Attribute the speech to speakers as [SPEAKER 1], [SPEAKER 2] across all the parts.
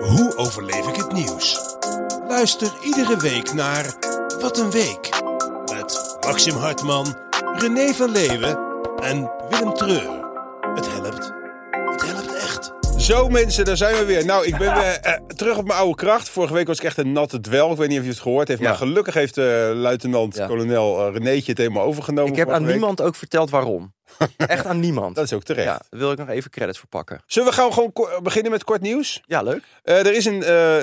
[SPEAKER 1] Hoe overleef ik het nieuws? Luister iedere week naar Wat een Week. Met Maxim Hartman, René van Leeuwen en Willem Treur. Het helpt. Het helpt echt.
[SPEAKER 2] Zo mensen, daar zijn we weer. Nou, ik ben weer eh, terug op mijn oude kracht. Vorige week was ik echt een natte dwel. Ik weet niet of je het gehoord heeft. Maar
[SPEAKER 3] Ja.
[SPEAKER 2] gelukkig heeft eh,
[SPEAKER 3] Ja.
[SPEAKER 2] luitenant-kolonel eh, Renéetje het helemaal overgenomen.
[SPEAKER 3] Ik heb
[SPEAKER 2] vorige
[SPEAKER 3] aan
[SPEAKER 2] week.
[SPEAKER 3] niemand ook verteld waarom. Echt aan niemand.
[SPEAKER 2] Dat is ook terecht.
[SPEAKER 3] Ja, daar wil ik nog even credits voor pakken.
[SPEAKER 2] Zullen we gaan gewoon ko- beginnen met kort nieuws?
[SPEAKER 3] Ja, leuk.
[SPEAKER 2] Eh, er is een eh,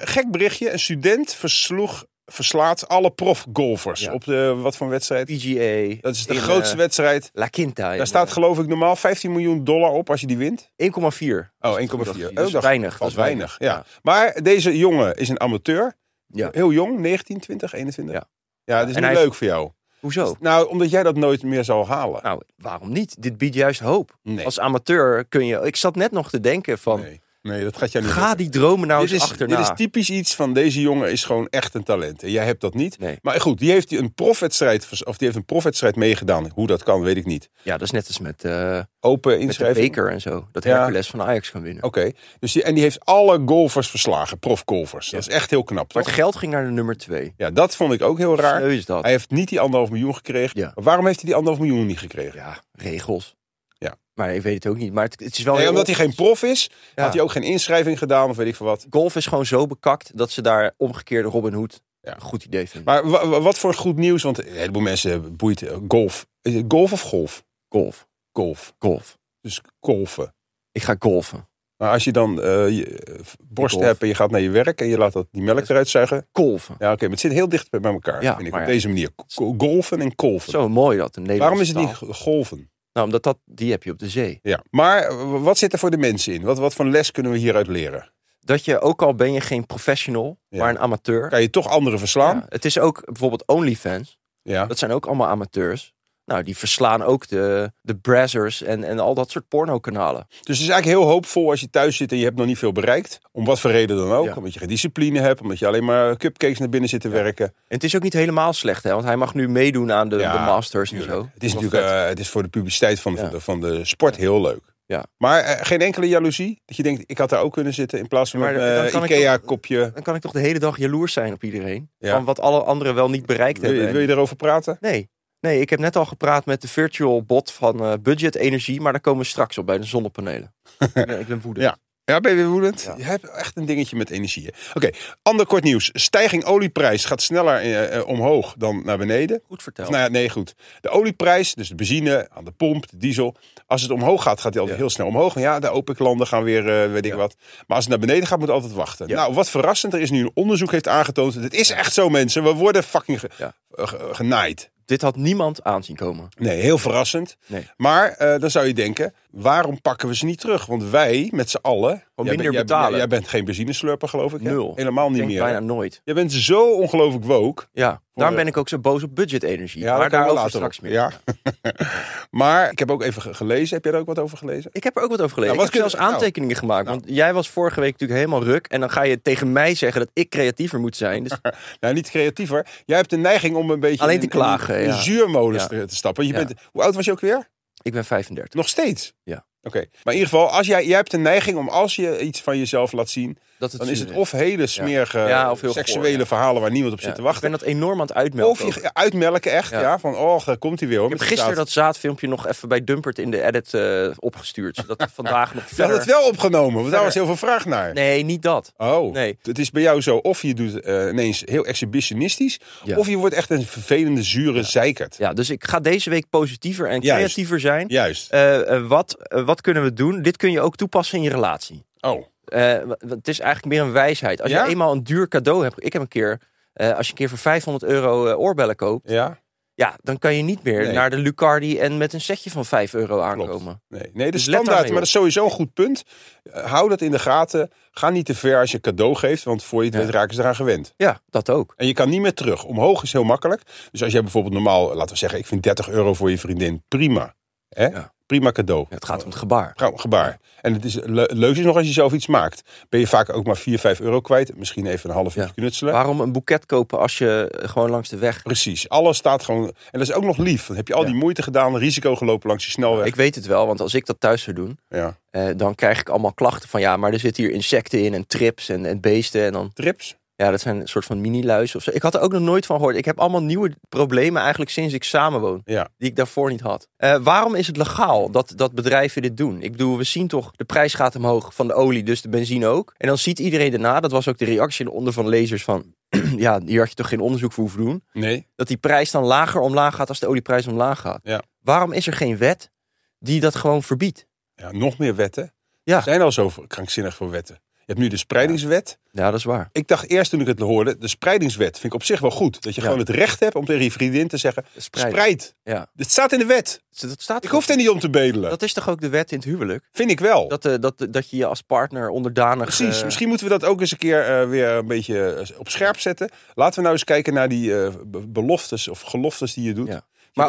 [SPEAKER 2] gek berichtje. Een student versloeg, verslaat alle profgolfers.
[SPEAKER 3] Ja.
[SPEAKER 2] Op de, wat voor wedstrijd?
[SPEAKER 3] PGA.
[SPEAKER 2] Dat is de
[SPEAKER 3] in,
[SPEAKER 2] grootste
[SPEAKER 3] eh,
[SPEAKER 2] wedstrijd.
[SPEAKER 3] La Quinta. in,
[SPEAKER 2] Daar staat
[SPEAKER 3] eh,
[SPEAKER 2] geloof ik normaal 15 miljoen dollar op als je die wint.
[SPEAKER 3] 1,4.
[SPEAKER 2] Oh, 1,4.
[SPEAKER 3] Dat is
[SPEAKER 2] dacht-
[SPEAKER 3] weinig.
[SPEAKER 2] Dat is weinig, ja. Maar deze jongen is een amateur.
[SPEAKER 3] Ja.
[SPEAKER 2] Heel jong, 19, 20, 21. Ja,
[SPEAKER 3] Ja.
[SPEAKER 2] dat is
[SPEAKER 3] En
[SPEAKER 2] niet
[SPEAKER 3] hij
[SPEAKER 2] leuk
[SPEAKER 3] heeft-
[SPEAKER 2] voor jou.
[SPEAKER 3] Hoezo?
[SPEAKER 2] Nou, omdat jij dat nooit meer zal halen.
[SPEAKER 3] Nou, waarom niet? Dit biedt juist hoop.
[SPEAKER 2] Nee.
[SPEAKER 3] Als amateur kun je... Ik zat net nog te denken van...
[SPEAKER 2] nee. nee, dat gaat jou niet
[SPEAKER 3] Ga
[SPEAKER 2] lukken.
[SPEAKER 3] die dromen nou
[SPEAKER 2] dit
[SPEAKER 3] eens
[SPEAKER 2] is,
[SPEAKER 3] achterna.
[SPEAKER 2] dit is typisch iets van deze jongen is gewoon echt een talent. En jij hebt dat niet.
[SPEAKER 3] Nee.
[SPEAKER 2] Maar goed, die heeft een profwedstrijd, vers- of die heeft een profwedstrijd meegedaan. Hoe dat kan, weet ik niet.
[SPEAKER 3] Ja, dat is net als met, eh
[SPEAKER 2] Open
[SPEAKER 3] met de
[SPEAKER 2] inschrijving.
[SPEAKER 3] beker en zo. Dat
[SPEAKER 2] Ja.
[SPEAKER 3] Hercules van Ajax kan winnen.
[SPEAKER 2] Oké, dus die, en die heeft alle golfers verslagen, profgolfers. Dat is echt heel knap,
[SPEAKER 3] Maar
[SPEAKER 2] toch?
[SPEAKER 3] het geld ging naar de nummer twee.
[SPEAKER 2] Ja, dat vond ik ook heel raar.
[SPEAKER 3] Sneu is dat.
[SPEAKER 2] Hij heeft niet die anderhalf miljoen gekregen.
[SPEAKER 3] Ja.
[SPEAKER 2] Maar waarom heeft hij die anderhalf miljoen niet gekregen?
[SPEAKER 3] Ja, regels.
[SPEAKER 2] Ja.
[SPEAKER 3] Maar ik weet het ook niet. Maar het, het is wel...
[SPEAKER 2] Nee,
[SPEAKER 3] heel-
[SPEAKER 2] omdat hij geen prof is,
[SPEAKER 3] Ja.
[SPEAKER 2] had hij ook geen inschrijving gedaan of weet ik veel wat.
[SPEAKER 3] golf is gewoon zo bekakt dat ze daar omgekeerde Robin Hood
[SPEAKER 2] Ja.
[SPEAKER 3] een goed idee vinden.
[SPEAKER 2] Maar wa- wa- wat voor goed nieuws, want een heleboel mensen boeit eh, golf. Is het golf of golf?
[SPEAKER 3] golf,
[SPEAKER 2] Golf.
[SPEAKER 3] golf.
[SPEAKER 2] Dus golfen.
[SPEAKER 3] Ik ga golfen.
[SPEAKER 2] Maar als je dan eh, je, eh, borst
[SPEAKER 3] Golf.
[SPEAKER 2] hebt en je gaat naar je werk en je laat dat, die melk eruit zuigen.
[SPEAKER 3] Golven.
[SPEAKER 2] Ja, oké, maar het zit heel dicht bij elkaar,
[SPEAKER 3] Ja,
[SPEAKER 2] vind ik.
[SPEAKER 3] maar
[SPEAKER 2] Op
[SPEAKER 3] ja.
[SPEAKER 2] deze manier. Ko- Golfen en kolven.
[SPEAKER 3] Zo mooi dat. Een
[SPEAKER 2] Waarom
[SPEAKER 3] Nederlandse
[SPEAKER 2] is het niet
[SPEAKER 3] taal.
[SPEAKER 2] g- golven?
[SPEAKER 3] Nou, omdat dat, die heb je op de zee.
[SPEAKER 2] Ja. Maar eh, w- wat zit er voor de mensen in? Wat, wat voor les kunnen we hieruit leren?
[SPEAKER 3] Dat je, ook al ben je geen professional,
[SPEAKER 2] Ja.
[SPEAKER 3] maar een amateur.
[SPEAKER 2] Kan je toch anderen verslaan?
[SPEAKER 3] Ja, het is ook bijvoorbeeld OnlyFans.
[SPEAKER 2] Ja.
[SPEAKER 3] Dat zijn ook allemaal amateurs. Nou, die verslaan ook de, de Brazzers en, en al dat soort pornokanalen.
[SPEAKER 2] Dus het is eigenlijk heel hoopvol als je thuis zit en je hebt nog niet veel bereikt. Om wat voor reden dan ook.
[SPEAKER 3] Ja.
[SPEAKER 2] Omdat je geen discipline hebt. Omdat je alleen maar cupcakes naar binnen zit te werken.
[SPEAKER 3] En het is ook niet helemaal slecht, hè? Want hij mag nu meedoen aan de,
[SPEAKER 2] Ja,
[SPEAKER 3] de Masters en
[SPEAKER 2] Tuurlijk.
[SPEAKER 3] zo.
[SPEAKER 2] Het is
[SPEAKER 3] Wel
[SPEAKER 2] natuurlijk
[SPEAKER 3] vet.
[SPEAKER 2] eh, het is voor de publiciteit van, de-
[SPEAKER 3] Ja.
[SPEAKER 2] van, de, van de sport heel leuk.
[SPEAKER 3] Ja.
[SPEAKER 2] Maar eh, geen enkele jaloezie? Dat je denkt, ik had daar ook kunnen zitten in plaats van
[SPEAKER 3] Ja, maar
[SPEAKER 2] een eh,
[SPEAKER 3] dan kan ik toch-
[SPEAKER 2] Ikea-kopje.
[SPEAKER 3] Dan kan ik toch de hele dag jaloers zijn op iedereen.
[SPEAKER 2] Ja.
[SPEAKER 3] Van wat alle anderen wel niet bereikt
[SPEAKER 2] Wil,
[SPEAKER 3] hebben.
[SPEAKER 2] je-
[SPEAKER 3] En-
[SPEAKER 2] wil je erover praten?
[SPEAKER 3] Nee. Nee, ik heb net al gepraat met de virtual bot van eh, Budget Energie, maar daar komen we straks op bij de zonnepanelen. nee, ik ben woedend.
[SPEAKER 2] Ja. Ja, ben je weer woedend?
[SPEAKER 3] Ja.
[SPEAKER 2] Je hebt echt een dingetje met energie. hè. Oké, ander kort nieuws. Stijging olieprijs gaat sneller eh, eh, omhoog dan naar beneden.
[SPEAKER 3] Goed
[SPEAKER 2] Of
[SPEAKER 3] verteld.
[SPEAKER 2] nou ja, nee, goed. De olieprijs, dus de benzine aan de pomp, de diesel. Als het omhoog gaat, gaat die altijd
[SPEAKER 3] Ja.
[SPEAKER 2] heel snel omhoog. En ja, de OPEC-landen gaan weer, eh, weet ik
[SPEAKER 3] Ja.
[SPEAKER 2] wat. Maar als het naar beneden gaat, moet het altijd wachten.
[SPEAKER 3] Ja.
[SPEAKER 2] Nou, wat verrassend. Er is nu een onderzoek heeft aangetoond. Het is echt zo, mensen. We worden fucking ge-
[SPEAKER 3] Ja.
[SPEAKER 2] eh, ge- genaaid.
[SPEAKER 3] Dit had niemand aanzien komen.
[SPEAKER 2] Nee, heel verrassend.
[SPEAKER 3] Nee.
[SPEAKER 2] Maar eh, dan zou je denken, waarom pakken we ze niet terug? Want wij, met z'n allen... Jij bent-
[SPEAKER 3] minder
[SPEAKER 2] jij,
[SPEAKER 3] betalen.
[SPEAKER 2] Jij, jij bent geen benzineslurper, geloof ik. hè?
[SPEAKER 3] Nul.
[SPEAKER 2] Helemaal niet
[SPEAKER 3] Denk
[SPEAKER 2] meer.
[SPEAKER 3] bijna
[SPEAKER 2] hè?
[SPEAKER 3] nooit.
[SPEAKER 2] Jij bent zo ongelooflijk woke.
[SPEAKER 3] Ja, daarom
[SPEAKER 2] de-
[SPEAKER 3] ben ik ook zo boos op Budget Energie.
[SPEAKER 2] Ja,
[SPEAKER 3] maar
[SPEAKER 2] daar
[SPEAKER 3] daarover
[SPEAKER 2] komen we later
[SPEAKER 3] straks
[SPEAKER 2] op.
[SPEAKER 3] meer.
[SPEAKER 2] Ja. maar ik heb ook even ge- gelezen. Heb jij er ook wat over gelezen?
[SPEAKER 3] Ik heb er ook wat over gelezen.
[SPEAKER 2] Nou, wat
[SPEAKER 3] ik heb
[SPEAKER 2] kun-
[SPEAKER 3] zelfs aantekeningen gemaakt. Want jij was vorige week natuurlijk helemaal ruk. En dan ga je tegen mij zeggen dat ik creatiever moet zijn. Dus
[SPEAKER 2] Nou, niet creatiever. Jij hebt de neiging om een beetje
[SPEAKER 3] Alleen
[SPEAKER 2] in-
[SPEAKER 3] te klagen,
[SPEAKER 2] in, in
[SPEAKER 3] ja.
[SPEAKER 2] zuurmolens
[SPEAKER 3] Ja.
[SPEAKER 2] te- te stappen. Je
[SPEAKER 3] Ja.
[SPEAKER 2] bent, hoe oud was je ook weer?
[SPEAKER 3] ik ben 35.
[SPEAKER 2] Nog steeds.
[SPEAKER 3] Ja.
[SPEAKER 2] Oké. Maar in ieder geval, als jij, jij hebt de neiging om als je iets van jezelf laat zien,
[SPEAKER 3] Dat het
[SPEAKER 2] dan is het
[SPEAKER 3] zuur
[SPEAKER 2] of hele smerige
[SPEAKER 3] Ja, of heel
[SPEAKER 2] seksuele
[SPEAKER 3] goor, ja.
[SPEAKER 2] verhalen waar niemand op
[SPEAKER 3] Ja,
[SPEAKER 2] zit te
[SPEAKER 3] Ik
[SPEAKER 2] wachten.
[SPEAKER 3] ben dat enorm aan het uitmelken.
[SPEAKER 2] Of
[SPEAKER 3] ook.
[SPEAKER 2] je uitmelken echt, ja.
[SPEAKER 3] Ja.
[SPEAKER 2] van oh, daar komt hij weer. Hoor,
[SPEAKER 3] Ik heb
[SPEAKER 2] met
[SPEAKER 3] gisteren
[SPEAKER 2] zaad.
[SPEAKER 3] dat zaadfilmpje nog even bij Dumpert in de edit eh, opgestuurd. Zodat het vandaag nog
[SPEAKER 2] Je had
[SPEAKER 3] verder...
[SPEAKER 2] het wel opgenomen, want daar
[SPEAKER 3] Verder.
[SPEAKER 2] was heel veel vraag naar.
[SPEAKER 3] Nee, niet dat.
[SPEAKER 2] Oh,
[SPEAKER 3] Nee.
[SPEAKER 2] het is bij jou zo, of je doet eh, ineens heel exhibitionistisch,
[SPEAKER 3] Ja.
[SPEAKER 2] of je wordt echt een vervelende, zure zeikert.
[SPEAKER 3] Ja, dus ik ga deze week positiever en
[SPEAKER 2] Juist.
[SPEAKER 3] creatiever zijn.
[SPEAKER 2] Juist.
[SPEAKER 3] Eh, eh, wat, eh, wat kunnen we doen? Dit kun je ook toepassen in je relatie.
[SPEAKER 2] Oh,
[SPEAKER 3] Eh, wa- wa- het is eigenlijk meer een wijsheid. Als
[SPEAKER 2] Ja?
[SPEAKER 3] je eenmaal een duur cadeau hebt. Ik heb een keer, eh, als je een keer voor 500 euro eh, oorbellen koopt.
[SPEAKER 2] ja.
[SPEAKER 3] Ja, dan kan je niet meer
[SPEAKER 2] Nee.
[SPEAKER 3] naar de Lucardi en met een setje van 5 euro aankomen.
[SPEAKER 2] Nee, nee de
[SPEAKER 3] Dus let
[SPEAKER 2] standaard, maar
[SPEAKER 3] daarmee
[SPEAKER 2] dat is sowieso een goed punt. Eh, hou dat in de gaten. Ga niet te ver als je cadeau geeft, want voor je het
[SPEAKER 3] Ja.
[SPEAKER 2] weet raken ze eraan gewend.
[SPEAKER 3] Ja, dat ook.
[SPEAKER 2] En je kan niet meer terug. Omhoog is heel makkelijk. Dus als jij bijvoorbeeld normaal, laten we zeggen, ik vind 30 euro voor je vriendin prima. Hè?
[SPEAKER 3] Ja.
[SPEAKER 2] Prima cadeau.
[SPEAKER 3] Het gaat om het gebaar.
[SPEAKER 2] Trouw- Gebaar. En het is, le leuk is nog als je zelf iets maakt. Ben je vaak ook maar 4, 5 euro kwijt. Misschien even een half uurtje
[SPEAKER 3] Ja. Ah.
[SPEAKER 2] knutselen.
[SPEAKER 3] Waarom een boeket kopen als je eh, gewoon langs de weg...
[SPEAKER 2] Precies. Alles staat gewoon. En dat is ook nog lief. Dan heb je al
[SPEAKER 3] Ja.
[SPEAKER 2] die moeite gedaan, risico gelopen langs die snelweg.
[SPEAKER 3] Ik weet het wel, want als ik dat thuis zou doen,
[SPEAKER 2] Ja.
[SPEAKER 3] eh, dan krijg ik allemaal klachten van... Ja, maar er zitten hier insecten in en trips en, en beesten en dan...
[SPEAKER 2] Trips.
[SPEAKER 3] Ja, dat zijn een soort van mini-luizen of zo. Ik had er ook nog nooit van gehoord. Ik heb allemaal nieuwe problemen eigenlijk sinds ik samenwoon.
[SPEAKER 2] Ja.
[SPEAKER 3] Die ik daarvoor niet had. Eh, waarom is het legaal dat, dat bedrijven dit doen? Ik bedoel, we zien toch, de prijs gaat omhoog van de olie, dus de benzine ook. En dan ziet iedereen daarna, dat was ook de reactie onder van lezers van... ja, hier had je toch geen onderzoek voor hoeven doen.
[SPEAKER 2] Nee.
[SPEAKER 3] Dat die prijs dan lager omlaag gaat als de olieprijs omlaag gaat.
[SPEAKER 2] Ja.
[SPEAKER 3] Waarom is er geen wet die dat gewoon verbiedt?
[SPEAKER 2] Ja, nog meer wetten.
[SPEAKER 3] Ja.
[SPEAKER 2] Er zijn al zo krankzinnig voor wetten. Je hebt nu de spreidingswet.
[SPEAKER 3] Ja, dat is waar.
[SPEAKER 2] Ik dacht eerst toen ik het hoorde, de spreidingswet vind ik op zich wel goed. Dat je
[SPEAKER 3] Ja.
[SPEAKER 2] gewoon het recht hebt om tegen je vriendin te zeggen,
[SPEAKER 3] Spreid.
[SPEAKER 2] spreid.
[SPEAKER 3] Ja.
[SPEAKER 2] Dit staat in de wet.
[SPEAKER 3] Dus Dat staat
[SPEAKER 2] Ik hoef er niet om te bedelen.
[SPEAKER 3] Dat is toch ook de wet in het huwelijk?
[SPEAKER 2] Vind ik wel.
[SPEAKER 3] Dat, eh, dat, dat je je als partner onderdanig...
[SPEAKER 2] Precies,
[SPEAKER 3] eh,
[SPEAKER 2] misschien moeten we dat ook eens een keer eh, weer een beetje eh, op scherp zetten. Laten we nou eens kijken naar die eh, be- beloftes of geloftes die je doet.
[SPEAKER 3] Ja. Maar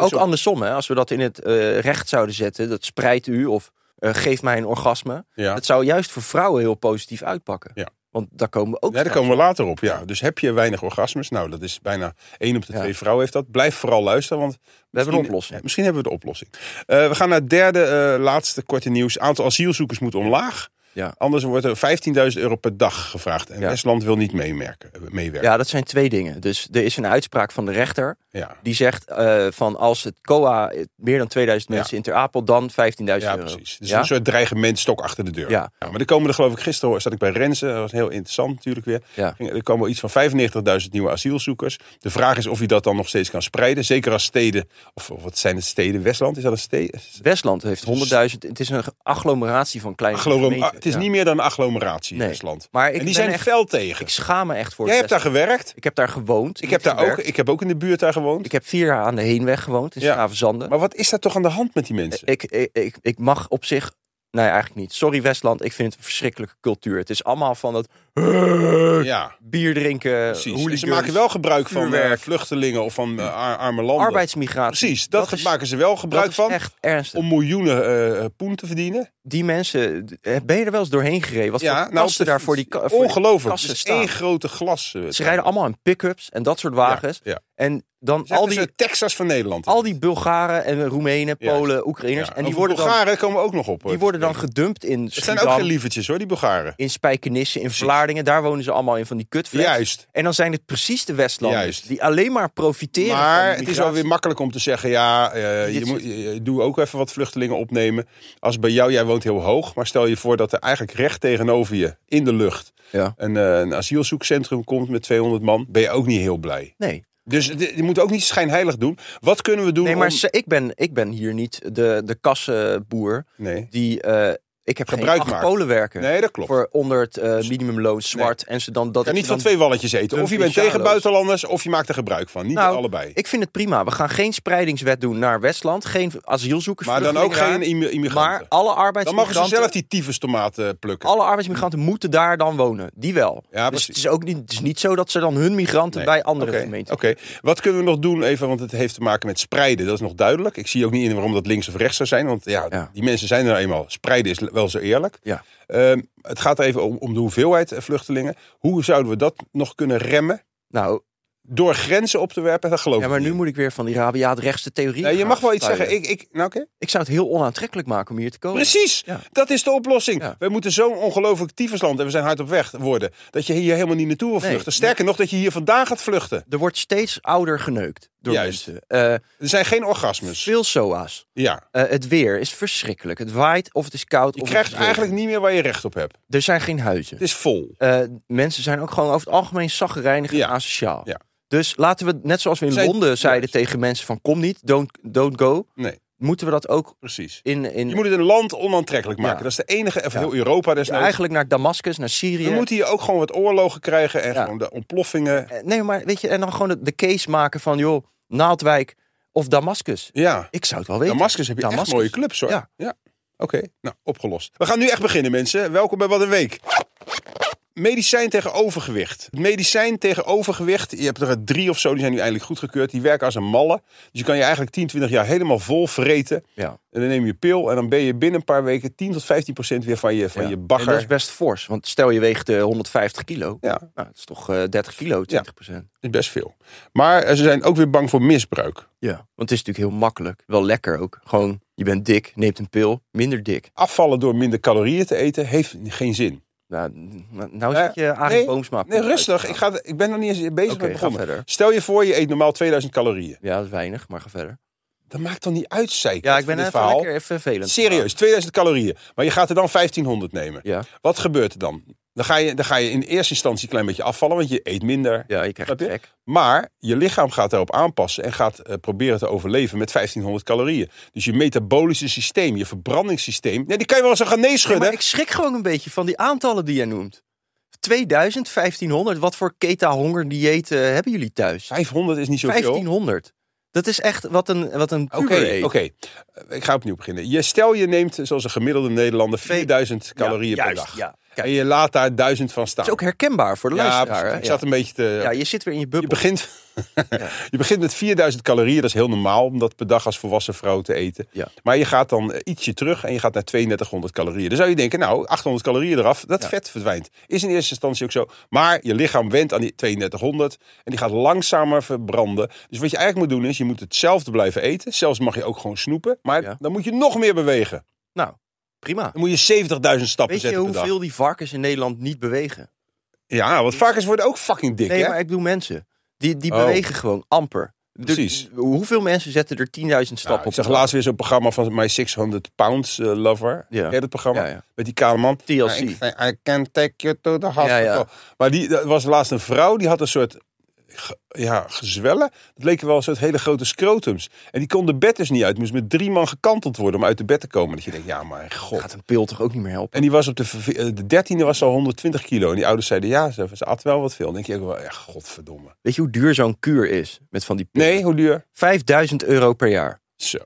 [SPEAKER 2] Dat
[SPEAKER 3] ook
[SPEAKER 2] is zo-
[SPEAKER 3] andersom, hè? als we dat in het eh, recht zouden zetten, dat spreidt u of eh, geef mij een orgasme.
[SPEAKER 2] Ja.
[SPEAKER 3] Dat zou juist voor vrouwen heel positief uitpakken.
[SPEAKER 2] Ja.
[SPEAKER 3] Want daar komen we
[SPEAKER 2] Ja,
[SPEAKER 3] ook
[SPEAKER 2] daar
[SPEAKER 3] straks
[SPEAKER 2] komen we later op. Ja. Dus heb je weinig orgasmes? Nou, dat is bijna één op de
[SPEAKER 3] Ja.
[SPEAKER 2] twee vrouwen heeft dat. Blijf vooral luisteren, want
[SPEAKER 3] We hebben een
[SPEAKER 2] Misschien-
[SPEAKER 3] oplossing.
[SPEAKER 2] ja, misschien hebben we de oplossing. Eh, we gaan naar het derde, eh, laatste korte nieuws. Aantal asielzoekers moet omlaag.
[SPEAKER 3] Ja.
[SPEAKER 2] Anders wordt er 15.000 euro per dag gevraagd. En
[SPEAKER 3] Ja.
[SPEAKER 2] Estland wil niet meemerken, eh, meewerken.
[SPEAKER 3] Ja, dat zijn twee dingen. Dus er is een uitspraak van de rechter
[SPEAKER 2] Ja.
[SPEAKER 3] die zegt eh, van als het COA meer dan 2000
[SPEAKER 2] Ja.
[SPEAKER 3] mensen in Ter Apel, dan 15.000
[SPEAKER 2] Ja,
[SPEAKER 3] euro.
[SPEAKER 2] precies. Dus
[SPEAKER 3] Ja?
[SPEAKER 2] een soort dreigement stok achter de deur.
[SPEAKER 3] Ja.
[SPEAKER 2] maar er komen er geloof ik gisteren, zat ik bij Rensen, dat was heel interessant natuurlijk weer.
[SPEAKER 3] Ja.
[SPEAKER 2] Ging- Er komen iets van 95.000 nieuwe asielzoekers. De vraag is of je dat dan nog steeds kan spreiden. Zeker als steden, of, of wat zijn het steden? Westland, is dat een steden?
[SPEAKER 3] Westland heeft 100.000. Het is een agglomeratie van kleine gemeenten.
[SPEAKER 2] ah, het is
[SPEAKER 3] Ja.
[SPEAKER 2] niet meer dan een agglomeratie in
[SPEAKER 3] Nee.
[SPEAKER 2] Westland.
[SPEAKER 3] Maar ik
[SPEAKER 2] en die
[SPEAKER 3] ben
[SPEAKER 2] zijn
[SPEAKER 3] echt-
[SPEAKER 2] fel tegen.
[SPEAKER 3] Ik schaam me echt voor.
[SPEAKER 2] Jij
[SPEAKER 3] het
[SPEAKER 2] hebt daar gewerkt.
[SPEAKER 3] Ik heb daar gewoond.
[SPEAKER 2] Ik heb, daar ook, ik heb ook in de buurt daar gewoond.
[SPEAKER 3] Ik heb vier jaar aan de heenweg gewoond in
[SPEAKER 2] Ja.
[SPEAKER 3] Schavenzanden.
[SPEAKER 2] Maar wat is daar toch aan de hand met die mensen?
[SPEAKER 3] Ik, ik, ik, ik mag op zich. Nee, eigenlijk niet. Sorry, Westland. Ik vind het een verschrikkelijke cultuur. Het is allemaal van dat
[SPEAKER 2] ja,
[SPEAKER 3] bier drinken.
[SPEAKER 2] precies. En
[SPEAKER 3] Eh, hooligans,
[SPEAKER 2] Ze maken wel gebruik van eh,
[SPEAKER 3] vuurwerk.
[SPEAKER 2] vluchtelingen of van eh, ar- arme landen.
[SPEAKER 3] arbeidsmigratie.
[SPEAKER 2] Precies, dat,
[SPEAKER 3] is-
[SPEAKER 2] maken ze wel gebruik
[SPEAKER 3] dat is
[SPEAKER 2] van.
[SPEAKER 3] Echt ernstig.
[SPEAKER 2] om miljoenen eh, poen te verdienen.
[SPEAKER 3] Die mensen. eh, Ben je er wel eens doorheen gereden? Wat voor
[SPEAKER 2] nou,
[SPEAKER 3] nou, kasten daar voor die, ka- voor die
[SPEAKER 2] Ongelooflijk.
[SPEAKER 3] kassen
[SPEAKER 2] Het is
[SPEAKER 3] staan?
[SPEAKER 2] één grote glas. eh,
[SPEAKER 3] Ze rijden allemaal in pick-ups en dat soort wagens.
[SPEAKER 2] Ja, ja.
[SPEAKER 3] En dan
[SPEAKER 2] Het is
[SPEAKER 3] al
[SPEAKER 2] echt
[SPEAKER 3] die,
[SPEAKER 2] een soort Texas van Nederland.
[SPEAKER 3] al die Bulgaren en Roemenen,
[SPEAKER 2] Juist.
[SPEAKER 3] Polen, Oekraïners.
[SPEAKER 2] Ja,
[SPEAKER 3] en die
[SPEAKER 2] over
[SPEAKER 3] worden, dan,
[SPEAKER 2] Bulgaren komen we ook nog op. hoor.
[SPEAKER 3] die worden dan gedumpt in
[SPEAKER 2] Het zijn ook geen
[SPEAKER 3] Schiedam,
[SPEAKER 2] lievertjes hoor, die Bulgaren.
[SPEAKER 3] in Spijkenisse, in Vlaardingen. Daar wonen ze allemaal in van die kutflats.
[SPEAKER 2] Juist.
[SPEAKER 3] En dan zijn het precies de Westlanders
[SPEAKER 2] Juist.
[SPEAKER 3] die alleen maar profiteren
[SPEAKER 2] Maar
[SPEAKER 3] van
[SPEAKER 2] het
[SPEAKER 3] de
[SPEAKER 2] is wel weer
[SPEAKER 3] migratie.
[SPEAKER 2] makkelijk om te zeggen, ja, eh,
[SPEAKER 3] Dit
[SPEAKER 2] je
[SPEAKER 3] is-
[SPEAKER 2] moet, je- je- doe ook even wat vluchtelingen opnemen. Als bij jou, jij woont heel hoog, maar stel je voor dat er eigenlijk recht tegenover je, in de lucht,
[SPEAKER 3] Ja.
[SPEAKER 2] een, eh, een asielzoekcentrum komt met 200 man, ben je ook niet heel blij.
[SPEAKER 3] Nee,
[SPEAKER 2] Dus de- je moet ook niet schijnheilig doen. Wat kunnen we doen
[SPEAKER 3] nee maar
[SPEAKER 2] om...
[SPEAKER 3] ze- ik, ben, ik ben hier niet de, de kassenboer
[SPEAKER 2] Nee.
[SPEAKER 3] die... eh, ik heb
[SPEAKER 2] Gebruik
[SPEAKER 3] geen acht
[SPEAKER 2] maakt.
[SPEAKER 3] Polen werken
[SPEAKER 2] nee, dat klopt. Dus-
[SPEAKER 3] voor onder het eh, minimumloon zwart. En ze dan dat
[SPEAKER 2] kan
[SPEAKER 3] ik
[SPEAKER 2] niet
[SPEAKER 3] ze
[SPEAKER 2] van
[SPEAKER 3] dan-
[SPEAKER 2] twee walletjes eten. Of je bent tegen
[SPEAKER 3] Provincialo's.
[SPEAKER 2] buitenlanders, of je maakt er gebruik van. Niet
[SPEAKER 3] Nou,
[SPEAKER 2] allebei.
[SPEAKER 3] Ik vind het prima. We gaan geen spreidingswet doen naar Westland. Geen asielzoekers.
[SPEAKER 2] Maar dan ook geen
[SPEAKER 3] vluchtelingen
[SPEAKER 2] immi-
[SPEAKER 3] daar.
[SPEAKER 2] immigranten.
[SPEAKER 3] Maar alle
[SPEAKER 2] dan mogen ze
[SPEAKER 3] arbeidsmigranten,
[SPEAKER 2] zelf die tyfustomaten plukken.
[SPEAKER 3] alle arbeidsmigranten moeten daar dan wonen. Die wel.
[SPEAKER 2] Ja,
[SPEAKER 3] dus
[SPEAKER 2] precies.
[SPEAKER 3] het is ook niet, het is niet zo dat ze dan hun migranten
[SPEAKER 2] Nee.
[SPEAKER 3] bij andere
[SPEAKER 2] Oké,
[SPEAKER 3] gemeenten.
[SPEAKER 2] Oké, wat kunnen we nog doen even, want het heeft te maken met spreiden. Dat is nog duidelijk. Ik zie ook niet in waarom dat links of rechts zou zijn. Want ja,
[SPEAKER 3] Ja.
[SPEAKER 2] die mensen zijn er nou eenmaal. Spreiden is wel zo eerlijk.
[SPEAKER 3] Ja.
[SPEAKER 2] Ehm, het gaat er even om, om de hoeveelheid eh, vluchtelingen. Hoe zouden we dat nog kunnen remmen?
[SPEAKER 3] Nou,
[SPEAKER 2] Door grenzen op te werpen, dat geloof
[SPEAKER 3] ja,
[SPEAKER 2] ik
[SPEAKER 3] maar
[SPEAKER 2] niet.
[SPEAKER 3] nu moet ik weer van die rabiaat rechtse theorie.
[SPEAKER 2] Nee, je
[SPEAKER 3] gaan
[SPEAKER 2] mag wel iets
[SPEAKER 3] spuien.
[SPEAKER 2] zeggen. Ik, ik, nou, oké.
[SPEAKER 3] Ik zou het heel onaantrekkelijk maken om hier te komen.
[SPEAKER 2] Precies,
[SPEAKER 3] Ja.
[SPEAKER 2] dat is de oplossing.
[SPEAKER 3] Ja.
[SPEAKER 2] We moeten zo'n ongelooflijk tyfusland en we zijn hard op weg worden. Dat je hier helemaal niet naartoe wil
[SPEAKER 3] Nee.
[SPEAKER 2] vluchten. Sterker nog, dat je hier vandaan gaat vluchten.
[SPEAKER 3] Er wordt steeds ouder geneukt door
[SPEAKER 2] Juist. Dus-
[SPEAKER 3] mensen. Eh,
[SPEAKER 2] Er zijn geen orgasmes.
[SPEAKER 3] veel SOA's.
[SPEAKER 2] Ja.
[SPEAKER 3] Eh, het weer is verschrikkelijk. Het waait of het is koud.
[SPEAKER 2] Je
[SPEAKER 3] of
[SPEAKER 2] krijgt
[SPEAKER 3] het is regent.
[SPEAKER 2] eigenlijk niet meer waar je recht op hebt.
[SPEAKER 3] Er zijn geen huizen.
[SPEAKER 2] Het is vol.
[SPEAKER 3] Eh, mensen zijn ook gewoon over het algemeen zaggerijnig en
[SPEAKER 2] Ja.
[SPEAKER 3] asociaal.
[SPEAKER 2] Ja.
[SPEAKER 3] Dus laten we, net zoals we in
[SPEAKER 2] Zij-
[SPEAKER 3] Londen zeiden
[SPEAKER 2] juist.
[SPEAKER 3] tegen mensen van kom niet, don't, don't go,
[SPEAKER 2] Nee,
[SPEAKER 3] moeten we dat ook
[SPEAKER 2] precies.
[SPEAKER 3] in, in
[SPEAKER 2] Je moet het een land onaantrekkelijk maken.
[SPEAKER 3] Ja.
[SPEAKER 2] Dat is de enige, of
[SPEAKER 3] Ja.
[SPEAKER 2] heel Europa desnoods.
[SPEAKER 3] dus eigenlijk naar Damascus, naar Syrië.
[SPEAKER 2] We moeten hier ook gewoon wat oorlogen krijgen en
[SPEAKER 3] Ja.
[SPEAKER 2] gewoon de ontploffingen.
[SPEAKER 3] Eh, Nee, maar weet je, en dan gewoon de, de case maken van joh, Naaldwijk of Damascus.
[SPEAKER 2] Ja.
[SPEAKER 3] Ik zou het wel weten.
[SPEAKER 2] Damascus heb je echt
[SPEAKER 3] Damascus.
[SPEAKER 2] mooie clubs hoor.
[SPEAKER 3] Ja.
[SPEAKER 2] Oké, nou opgelost. We gaan nu echt beginnen mensen. Welkom bij Wat een Week. Medicijn tegen overgewicht. Medicijn tegen overgewicht. Je hebt er drie of zo, die zijn nu eindelijk goedgekeurd. Die werken als een malle. Dus je kan je eigenlijk 10, 20 jaar helemaal vol vreten.
[SPEAKER 3] Ja.
[SPEAKER 2] En dan neem je pil en dan ben je binnen een paar weken 10 tot 15 procent weer van je, van
[SPEAKER 3] Ja.
[SPEAKER 2] je
[SPEAKER 3] En dat is
[SPEAKER 2] bagger.
[SPEAKER 3] best fors. Want stel je weegt eh, 150 kilo.
[SPEAKER 2] Ja,
[SPEAKER 3] Nou, dat is toch eh, 30 kilo, 20 procent.
[SPEAKER 2] is best veel. Maar eh, ze zijn ook weer bang voor misbruik.
[SPEAKER 3] Ja. Want het is natuurlijk heel makkelijk. Wel lekker ook. Gewoon, je bent dik, neemt een pil, minder dik.
[SPEAKER 2] Afvallen door minder calorieën te eten heeft geen zin.
[SPEAKER 3] Nou, n- nou
[SPEAKER 2] Eh,
[SPEAKER 3] zit je Arie
[SPEAKER 2] nee,
[SPEAKER 3] Boomsma.
[SPEAKER 2] Nee, rustig. Ik, ga, ik ben nog niet eens bezig
[SPEAKER 3] Oké,
[SPEAKER 2] met
[SPEAKER 3] ga
[SPEAKER 2] begonnen.
[SPEAKER 3] verder.
[SPEAKER 2] Stel je voor, je eet normaal 2000 calorieën.
[SPEAKER 3] Ja, dat is weinig, maar ga verder.
[SPEAKER 2] Dat maakt dan niet uit, zei
[SPEAKER 3] Ja, ik ben
[SPEAKER 2] dit
[SPEAKER 3] even
[SPEAKER 2] verhaal.
[SPEAKER 3] lekker even vervelend.
[SPEAKER 2] Serieus, 2000 calorieën. Maar je gaat er dan 1500 nemen.
[SPEAKER 3] Ja,
[SPEAKER 2] Wat gebeurt er dan? Dan ga, je, dan ga je in eerste instantie een klein beetje afvallen, want je eet minder.
[SPEAKER 3] ja je krijgt
[SPEAKER 2] Snap je?
[SPEAKER 3] trek.
[SPEAKER 2] Maar je lichaam gaat daarop aanpassen en gaat eh, proberen te overleven met 1500 calorieën. Dus je metabolische systeem, je verbrandingssysteem. Nee, die kan je wel eens gaan
[SPEAKER 3] Nee,
[SPEAKER 2] neeschudden.
[SPEAKER 3] maar ik schrik gewoon een beetje van die aantallen die jij noemt. 2000, 1500, wat voor keta-hongerdieet eh, hebben jullie thuis?
[SPEAKER 2] 500 is niet zoveel.
[SPEAKER 3] 1500. Dat is echt wat een, wat een
[SPEAKER 2] Oké,
[SPEAKER 3] puber eet.
[SPEAKER 2] oké. Eh, Ik ga opnieuw beginnen. Je, stel je neemt, zoals een gemiddelde Nederlander,
[SPEAKER 3] Twee-
[SPEAKER 2] 4000
[SPEAKER 3] Ja,
[SPEAKER 2] calorieën per
[SPEAKER 3] juist,
[SPEAKER 2] dag.
[SPEAKER 3] Ja. Kijk,
[SPEAKER 2] En je laat daar 1000 van staan.
[SPEAKER 3] het is ook herkenbaar voor de
[SPEAKER 2] ja,
[SPEAKER 3] luisteraar.
[SPEAKER 2] precies.
[SPEAKER 3] hè?
[SPEAKER 2] ik zat een beetje te...
[SPEAKER 3] ja. Ja, je zit weer in je
[SPEAKER 2] Je
[SPEAKER 3] bubbel.
[SPEAKER 2] begint, je begint met 4000 calorieën, dat is heel normaal om dat per dag als volwassen vrouw te eten.
[SPEAKER 3] Ja.
[SPEAKER 2] Maar je gaat dan eh, ietsje terug en je gaat naar 3200 calorieën. Dan zou je denken, nou, 800 calorieën eraf, dat vet verdwijnt. Is in eerste instantie ook zo. Maar je lichaam went aan die 3200 en die gaat langzamer verbranden. Dus wat je eigenlijk moet doen is, je moet hetzelfde blijven eten. Zelfs mag je ook gewoon snoepen, maar
[SPEAKER 3] Ja.
[SPEAKER 2] dan moet je nog meer bewegen.
[SPEAKER 3] Nou, prima.
[SPEAKER 2] Dan moet je 70.000 stappen
[SPEAKER 3] Weet je
[SPEAKER 2] zetten per dag.
[SPEAKER 3] hoeveel die varkens in Nederland niet bewegen?
[SPEAKER 2] Ja, want varkens worden ook fucking dik,
[SPEAKER 3] Nee,
[SPEAKER 2] hè?
[SPEAKER 3] maar ik bedoel mensen. Die, die
[SPEAKER 2] Oh.
[SPEAKER 3] bewegen gewoon amper. De-
[SPEAKER 2] Precies.
[SPEAKER 3] hoeveel mensen zetten er 10.000
[SPEAKER 2] Nou,
[SPEAKER 3] stappen op?
[SPEAKER 2] ik zag
[SPEAKER 3] een dag?
[SPEAKER 2] laatst weer zo'n programma van My 600 Pounds eh, Lover.
[SPEAKER 3] Ja.
[SPEAKER 2] Ken je dat programma?
[SPEAKER 3] Ja, ja.
[SPEAKER 2] Met die kale man.
[SPEAKER 3] TLC.
[SPEAKER 2] Nou, ik zei, I can take you to the hospital.
[SPEAKER 3] Ja, ja.
[SPEAKER 2] Maar die, er was laatst een vrouw, die had een soort ge- ja, gezwellen. Dat leken wel een soort hele grote scrotums. En die kon de bed dus niet uit. Moest met drie man gekanteld worden om uit de bed te komen. Dat je denkt, ja, mijn god.
[SPEAKER 3] Gaat een pil toch ook niet meer helpen?
[SPEAKER 2] En die was op de, verve- eh, de dertiende was ze al 120 kilo. En die ouders zeiden, ja, ze, ze at wel wat veel. Dan denk je ook wel, ja, godverdomme.
[SPEAKER 3] Weet je hoe duur zo'n kuur is? Met van die pillen?
[SPEAKER 2] Nee, hoe duur?
[SPEAKER 3] 5000 euro per jaar.
[SPEAKER 2] Zo,
[SPEAKER 3] Ik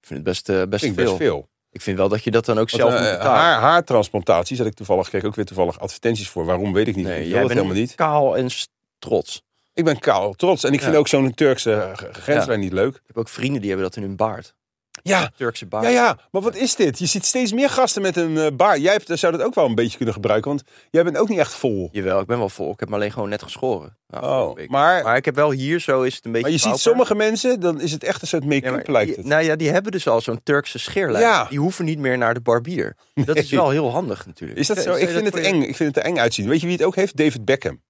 [SPEAKER 3] vind het best, eh, best,
[SPEAKER 2] klinkt
[SPEAKER 3] veel.
[SPEAKER 2] best veel.
[SPEAKER 3] Ik vind wel dat je dat dan ook zelf
[SPEAKER 2] Want,
[SPEAKER 3] moet
[SPEAKER 2] eh,
[SPEAKER 3] betalen.
[SPEAKER 2] haar, haartransplantaties had ik toevallig, kreeg ook weer toevallig advertenties voor. Waarom weet ik niet.
[SPEAKER 3] nee,
[SPEAKER 2] ik wil
[SPEAKER 3] jij bent
[SPEAKER 2] dat helemaal niet.
[SPEAKER 3] kaal en s- trots.
[SPEAKER 2] Ik ben kaal trots en ik vind
[SPEAKER 3] Ja.
[SPEAKER 2] ook zo'n Turkse eh, g- grenslijn niet leuk.
[SPEAKER 3] Ik heb ook vrienden die hebben dat in hun baard.
[SPEAKER 2] Ja,
[SPEAKER 3] Turkse baard.
[SPEAKER 2] ja, ja, maar wat is dit? Je ziet steeds meer gasten met een eh, baard. Jij hebt, zou dat ook wel een beetje kunnen gebruiken, want jij bent ook niet echt vol.
[SPEAKER 3] Jawel, ik ben wel vol. Ik heb me alleen gewoon net geschoren. Nou, vorige
[SPEAKER 2] Oh,
[SPEAKER 3] week.
[SPEAKER 2] maar,
[SPEAKER 3] Maar ik heb wel hier zo is het een beetje.
[SPEAKER 2] maar je ziet
[SPEAKER 3] pauper.
[SPEAKER 2] sommige mensen, dan is het echt een soort
[SPEAKER 3] Ja, maar
[SPEAKER 2] make-up lijkt
[SPEAKER 3] die-
[SPEAKER 2] het.
[SPEAKER 3] Nou ja, die hebben dus al zo'n Turkse scheerlijn.
[SPEAKER 2] Ja.
[SPEAKER 3] Die hoeven niet meer naar de barbier. Dat is
[SPEAKER 2] Nee.
[SPEAKER 3] wel heel handig natuurlijk.
[SPEAKER 2] Is dat zo?
[SPEAKER 3] Zou je
[SPEAKER 2] Ik vind het
[SPEAKER 3] voor je-
[SPEAKER 2] eng. Ik vind het er eng uitzien. Weet je wie het ook heeft? David Beckham.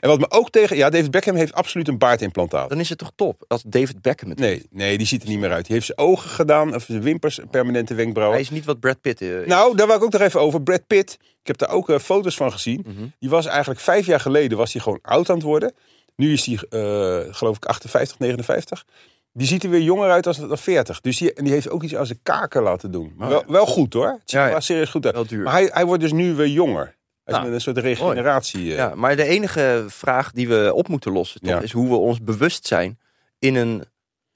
[SPEAKER 2] En wat me ook tegen... Ja, David Beckham heeft absoluut een baardimplantaat.
[SPEAKER 3] Dan is het toch top als David Beckham het
[SPEAKER 2] Nee, nee, die ziet er niet meer uit. Die heeft zijn ogen gedaan, of zijn wimpers, permanente wenkbrauwen.
[SPEAKER 3] Hij is niet wat Brad Pitt eh, is.
[SPEAKER 2] Nou, daar wou ik ook nog even over. Brad Pitt, ik heb daar ook eh, foto's van gezien.
[SPEAKER 3] Mhm.
[SPEAKER 2] Die was eigenlijk vijf jaar geleden was hij gewoon oud aan het worden. Nu is hij, eh, geloof ik, 58, 59. Die ziet er weer jonger uit als dan 40. Dus die, en die heeft ook iets aan zijn kaken laten doen. Maar
[SPEAKER 3] Oh,
[SPEAKER 2] wel, wel goed hoor. Het ziet
[SPEAKER 3] Ja,
[SPEAKER 2] er
[SPEAKER 3] ja.
[SPEAKER 2] wel serieus goed uit.
[SPEAKER 3] Wel duur.
[SPEAKER 2] Maar hij, hij wordt dus nu weer jonger. Hij is
[SPEAKER 3] Nou,
[SPEAKER 2] met een soort regeneratie. eh.
[SPEAKER 3] Ja, maar de enige vraag die we op moeten lossen toch,
[SPEAKER 2] Ja.
[SPEAKER 3] is hoe we ons bewust zijn in een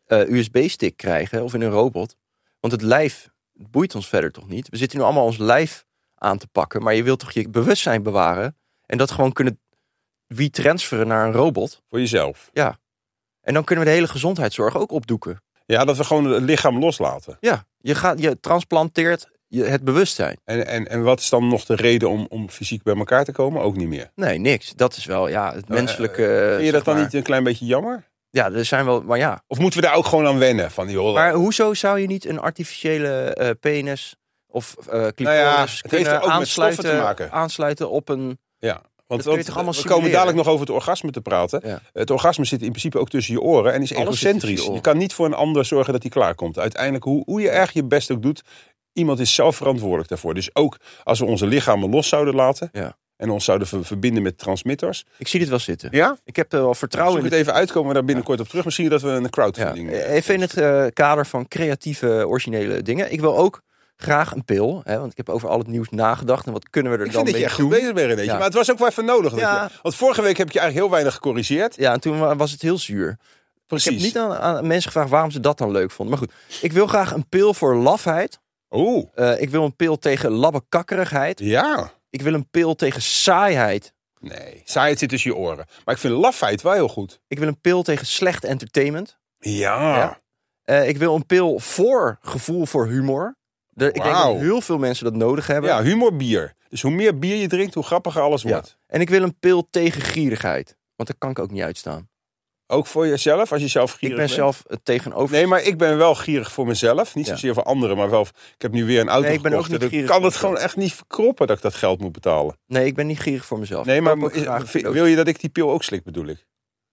[SPEAKER 3] eh, USB-stick krijgen of in een robot. Want het lijf het boeit ons verder toch niet. We zitten nu allemaal ons lijf aan te pakken, maar je wilt toch je bewustzijn bewaren en dat gewoon kunnen retransferen naar een robot.
[SPEAKER 2] Voor jezelf.
[SPEAKER 3] En dan kunnen we de hele gezondheidszorg ook opdoeken.
[SPEAKER 2] Ja, dat we gewoon het lichaam loslaten.
[SPEAKER 3] Ja, je, gaat, je transplanteert je, het bewustzijn.
[SPEAKER 2] En, en, en wat is dan nog de reden om, om fysiek bij elkaar te komen? Ook niet meer.
[SPEAKER 3] Nee, niks. Dat is wel ja, het menselijke.
[SPEAKER 2] Eh, Vind je
[SPEAKER 3] zeg
[SPEAKER 2] dat dan
[SPEAKER 3] maar-
[SPEAKER 2] niet een klein beetje jammer?
[SPEAKER 3] Ja, er zijn wel. Maar ja,
[SPEAKER 2] Of moeten we daar ook gewoon aan wennen? Van, joh,
[SPEAKER 3] Maar hoezo zou je niet een artificiële eh, penis of eh clitoris
[SPEAKER 2] Nou ja, het heeft
[SPEAKER 3] kunnen
[SPEAKER 2] er ook met
[SPEAKER 3] aansluiten,
[SPEAKER 2] stoffen te maken.
[SPEAKER 3] aansluiten op een...
[SPEAKER 2] Ja, want,
[SPEAKER 3] kun je
[SPEAKER 2] want we
[SPEAKER 3] toch allemaal
[SPEAKER 2] komen
[SPEAKER 3] simuleren?
[SPEAKER 2] dadelijk nog over het orgasme te praten.
[SPEAKER 3] Ja.
[SPEAKER 2] Het orgasme zit in principe ook tussen je oren en is
[SPEAKER 3] Alles zit tussen
[SPEAKER 2] egocentrisch.
[SPEAKER 3] je
[SPEAKER 2] Je,
[SPEAKER 3] oren.
[SPEAKER 2] kan niet voor een ander zorgen dat hij klaarkomt. Uiteindelijk, hoe, hoe je erg je best ook doet, iemand is zelf verantwoordelijk daarvoor. Dus ook als we onze lichamen los zouden laten
[SPEAKER 3] Ja.
[SPEAKER 2] en ons zouden ver- verbinden met transmitters.
[SPEAKER 3] Ik zie dit wel zitten.
[SPEAKER 2] Ja?
[SPEAKER 3] Ik heb er wel vertrouwen
[SPEAKER 2] Zoek
[SPEAKER 3] in.
[SPEAKER 2] het even uitkomen we daar binnenkort op terug. Misschien dat we een
[SPEAKER 3] Ja.
[SPEAKER 2] crowdfunding... eh,
[SPEAKER 3] Even in het eh, kader van creatieve, originele dingen. Ik wil ook graag een pil, hè, want ik heb over al het nieuws nagedacht. En wat kunnen we er
[SPEAKER 2] Ik
[SPEAKER 3] dan
[SPEAKER 2] vind dat je
[SPEAKER 3] mee
[SPEAKER 2] echt
[SPEAKER 3] doen?
[SPEAKER 2] goed bezig bent, Renéetje.
[SPEAKER 3] Ja.
[SPEAKER 2] Maar het was ook wel even nodig. dat
[SPEAKER 3] Ja.
[SPEAKER 2] je- want vorige week heb ik je eigenlijk heel weinig gecorrigeerd.
[SPEAKER 3] Ja, en toen wa- was het heel zuur.
[SPEAKER 2] Precies.
[SPEAKER 3] Ik heb niet aan, aan mensen gevraagd waarom ze dat dan leuk vonden. Maar goed, ik wil graag een pil voor lafheid.
[SPEAKER 2] Oeh,
[SPEAKER 3] Eh, ik wil een pil tegen labbekakkerigheid.
[SPEAKER 2] ja.
[SPEAKER 3] Ik wil een pil tegen saaiheid.
[SPEAKER 2] Nee, saaiheid zit tussen je oren. Maar ik vind lafheid wel heel goed.
[SPEAKER 3] Ik wil een pil tegen slecht entertainment.
[SPEAKER 2] Ja.
[SPEAKER 3] Ja. Eh, ik wil een pil voor gevoel voor humor. De, ik denk
[SPEAKER 2] Wauw.
[SPEAKER 3] dat heel veel mensen dat nodig hebben.
[SPEAKER 2] Ja, humorbier. Dus hoe meer bier je drinkt, hoe grappiger alles
[SPEAKER 3] Ja.
[SPEAKER 2] wordt.
[SPEAKER 3] En ik wil een pil tegen gierigheid. Want daar kan ik ook niet uitstaan.
[SPEAKER 2] Ook voor jezelf, als je zelf gierig
[SPEAKER 3] ik ben
[SPEAKER 2] bent.
[SPEAKER 3] zelf het tegenover.
[SPEAKER 2] Nee, maar ik ben wel gierig voor mezelf. Niet
[SPEAKER 3] Ja.
[SPEAKER 2] zozeer voor anderen, maar wel... Ik heb nu weer een auto
[SPEAKER 3] Nee, ik ben
[SPEAKER 2] gekocht.
[SPEAKER 3] ook niet
[SPEAKER 2] en ik
[SPEAKER 3] gierig
[SPEAKER 2] kan
[SPEAKER 3] voor
[SPEAKER 2] het gewoon echt niet verkroppen dat ik dat geld moet betalen.
[SPEAKER 3] Nee, ik ben niet gierig voor mezelf.
[SPEAKER 2] Nee,
[SPEAKER 3] Ik
[SPEAKER 2] maar
[SPEAKER 3] koop ook
[SPEAKER 2] is-
[SPEAKER 3] graag een
[SPEAKER 2] vind-
[SPEAKER 3] cadeautje.
[SPEAKER 2] wil je dat ik die pil ook slik, bedoel ik?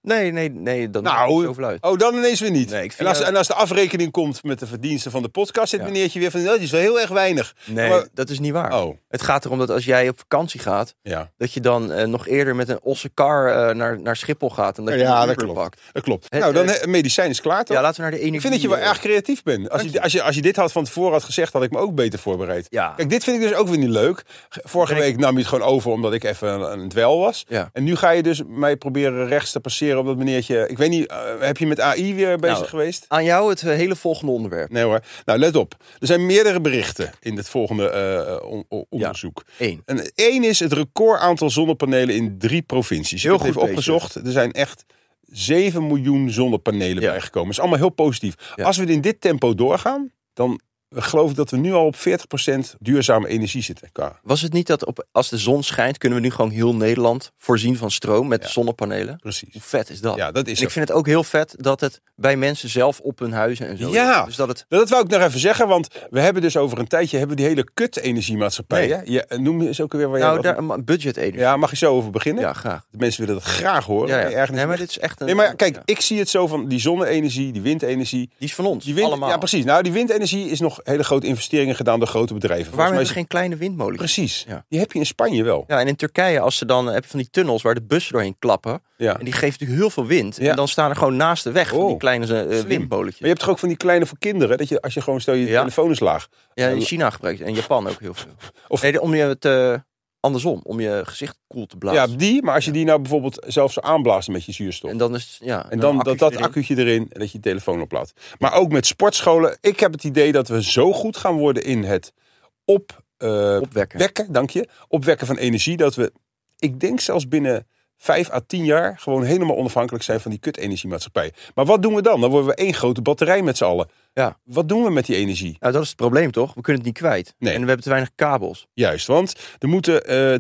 [SPEAKER 3] Nee, nee, nee, dat
[SPEAKER 2] Nou,
[SPEAKER 3] maakt niet zoveel uit.
[SPEAKER 2] Oh, dan ineens weer niet.
[SPEAKER 3] Nee, ik vind
[SPEAKER 2] en, als,
[SPEAKER 3] dat-
[SPEAKER 2] en als de afrekening komt met de verdiensten van de podcast... zit
[SPEAKER 3] Ja.
[SPEAKER 2] meneertje weer van... Oh, die is wel heel erg weinig.
[SPEAKER 3] Nee,
[SPEAKER 2] maar-
[SPEAKER 3] dat is niet waar.
[SPEAKER 2] Oh,
[SPEAKER 3] Het gaat erom dat als jij op vakantie gaat,
[SPEAKER 2] ja.
[SPEAKER 3] dat je dan eh, nog eerder met een osse kar eh, naar, naar Schiphol gaat. En dat je
[SPEAKER 2] Ja,
[SPEAKER 3] een
[SPEAKER 2] dat
[SPEAKER 3] Uber
[SPEAKER 2] klopt.
[SPEAKER 3] pakt.
[SPEAKER 2] Dat klopt.
[SPEAKER 3] Het,
[SPEAKER 2] nou, dan
[SPEAKER 3] eh,
[SPEAKER 2] he- medicijn is klaar, toch?
[SPEAKER 3] Ja, laten we naar de energie.
[SPEAKER 2] Ik vind dat je wel
[SPEAKER 3] eh,
[SPEAKER 2] erg creatief bent. Als je, als, je, als je dit had van tevoren had gezegd, had ik me ook beter voorbereid.
[SPEAKER 3] Ja.
[SPEAKER 2] Kijk, dit vind ik dus ook weer niet leuk. Vorige
[SPEAKER 3] Ben ik-
[SPEAKER 2] week nam je het gewoon over omdat ik even aan het dwel was.
[SPEAKER 3] Ja.
[SPEAKER 2] En nu ga je dus mij proberen rechts te passeren op dat meneertje. Ik weet niet, eh, heb je met AI weer bezig
[SPEAKER 3] Nou,
[SPEAKER 2] geweest?
[SPEAKER 3] Aan jou het eh, hele volgende onderwerp.
[SPEAKER 2] Nee hoor. Nou, let op. Er zijn meerdere berichten in dit volgende eh, on- on- onderzoek.
[SPEAKER 3] Eén.
[SPEAKER 2] En één is het record aantal zonnepanelen in drie provincies.
[SPEAKER 3] Heel
[SPEAKER 2] ik heb het
[SPEAKER 3] goed
[SPEAKER 2] even opgezocht. Er zijn echt 7 miljoen zonnepanelen
[SPEAKER 3] Ja.
[SPEAKER 2] bijgekomen. Dat is allemaal heel positief.
[SPEAKER 3] Ja.
[SPEAKER 2] Als we in dit tempo doorgaan, dan geloof ik dat we nu al op 40% duurzame energie zitten. Qua.
[SPEAKER 3] Was het niet dat op, als de zon schijnt, kunnen we nu gewoon heel Nederland voorzien van stroom met
[SPEAKER 2] Ja.
[SPEAKER 3] zonnepanelen?
[SPEAKER 2] Precies.
[SPEAKER 3] Hoe vet is dat?
[SPEAKER 2] Ja, dat is
[SPEAKER 3] en ik
[SPEAKER 2] het.
[SPEAKER 3] vind het ook heel vet dat het bij mensen zelf op hun huizen en zo.
[SPEAKER 2] Ja.
[SPEAKER 3] is. Dus dat het.
[SPEAKER 2] Dat wou ik nog even zeggen, want we hebben dus over een tijdje hebben we die hele kut-energiemaatschappij.
[SPEAKER 3] Nee.
[SPEAKER 2] hè? Ja, noem eens ook weer waar
[SPEAKER 3] Nou,
[SPEAKER 2] jij...
[SPEAKER 3] daar, maar budget energie. Ja,
[SPEAKER 2] Ja, mag je zo over beginnen?
[SPEAKER 3] graag.
[SPEAKER 2] De mensen willen dat graag horen.
[SPEAKER 3] Ja, ja.
[SPEAKER 2] Nee, ergens-
[SPEAKER 3] Nee, maar dit is echt een.
[SPEAKER 2] Nee, maar kijk,
[SPEAKER 3] ja.
[SPEAKER 2] ik zie het zo van die zonne-energie, die windenergie.
[SPEAKER 3] die is van ons.
[SPEAKER 2] Die wind,
[SPEAKER 3] allemaal.
[SPEAKER 2] Ja, precies. Nou, die windenergie is nog hele grote investeringen gedaan door grote bedrijven.
[SPEAKER 3] Waarom hebben
[SPEAKER 2] Volgens
[SPEAKER 3] we
[SPEAKER 2] mij
[SPEAKER 3] geen kleine windmolen?
[SPEAKER 2] is- Precies.
[SPEAKER 3] Ja.
[SPEAKER 2] Die heb je in Spanje wel.
[SPEAKER 3] Ja, en in Turkije, als ze dan eh, heb je van die tunnels waar de bussen doorheen klappen.
[SPEAKER 2] Ja.
[SPEAKER 3] En die geeft natuurlijk heel veel wind.
[SPEAKER 2] Ja.
[SPEAKER 3] En dan staan er gewoon naast de weg van die
[SPEAKER 2] Oh,
[SPEAKER 3] kleine eh,
[SPEAKER 2] slim. Maar
[SPEAKER 3] windmolentjes.
[SPEAKER 2] je hebt toch ook van die kleine voor kinderen, dat je als je gewoon stel je
[SPEAKER 3] Ja.
[SPEAKER 2] telefoon is laag.
[SPEAKER 3] Ja, in China gebruikt en in Japan ook heel veel.
[SPEAKER 2] Of-
[SPEAKER 3] Of nee, om je het eh, andersom, om je gezicht koel te blazen.
[SPEAKER 2] Ja, die, maar als je die nou bijvoorbeeld zelf zou aanblazen met je zuurstof.
[SPEAKER 3] en dan is ja.
[SPEAKER 2] En dan dat, dat
[SPEAKER 3] accu.
[SPEAKER 2] accuutje erin en dat je je telefoon oplaadt. Maar ook met sportscholen. Ik heb het idee dat we zo goed gaan worden in het op, eh,
[SPEAKER 3] Opwekken.
[SPEAKER 2] wekken, dank je. Opwekken van energie. Dat we, ik denk zelfs binnen vijf à tien jaar gewoon helemaal onafhankelijk zijn van die kut-energiemaatschappij. Maar wat doen we dan? Dan worden we één grote batterij met z'n allen.
[SPEAKER 3] Ja.
[SPEAKER 2] Wat doen we met die energie?
[SPEAKER 3] Nou, dat is het probleem toch? We kunnen het niet kwijt.
[SPEAKER 2] Nee.
[SPEAKER 3] En we hebben te weinig kabels.
[SPEAKER 2] Juist, want er moeten eh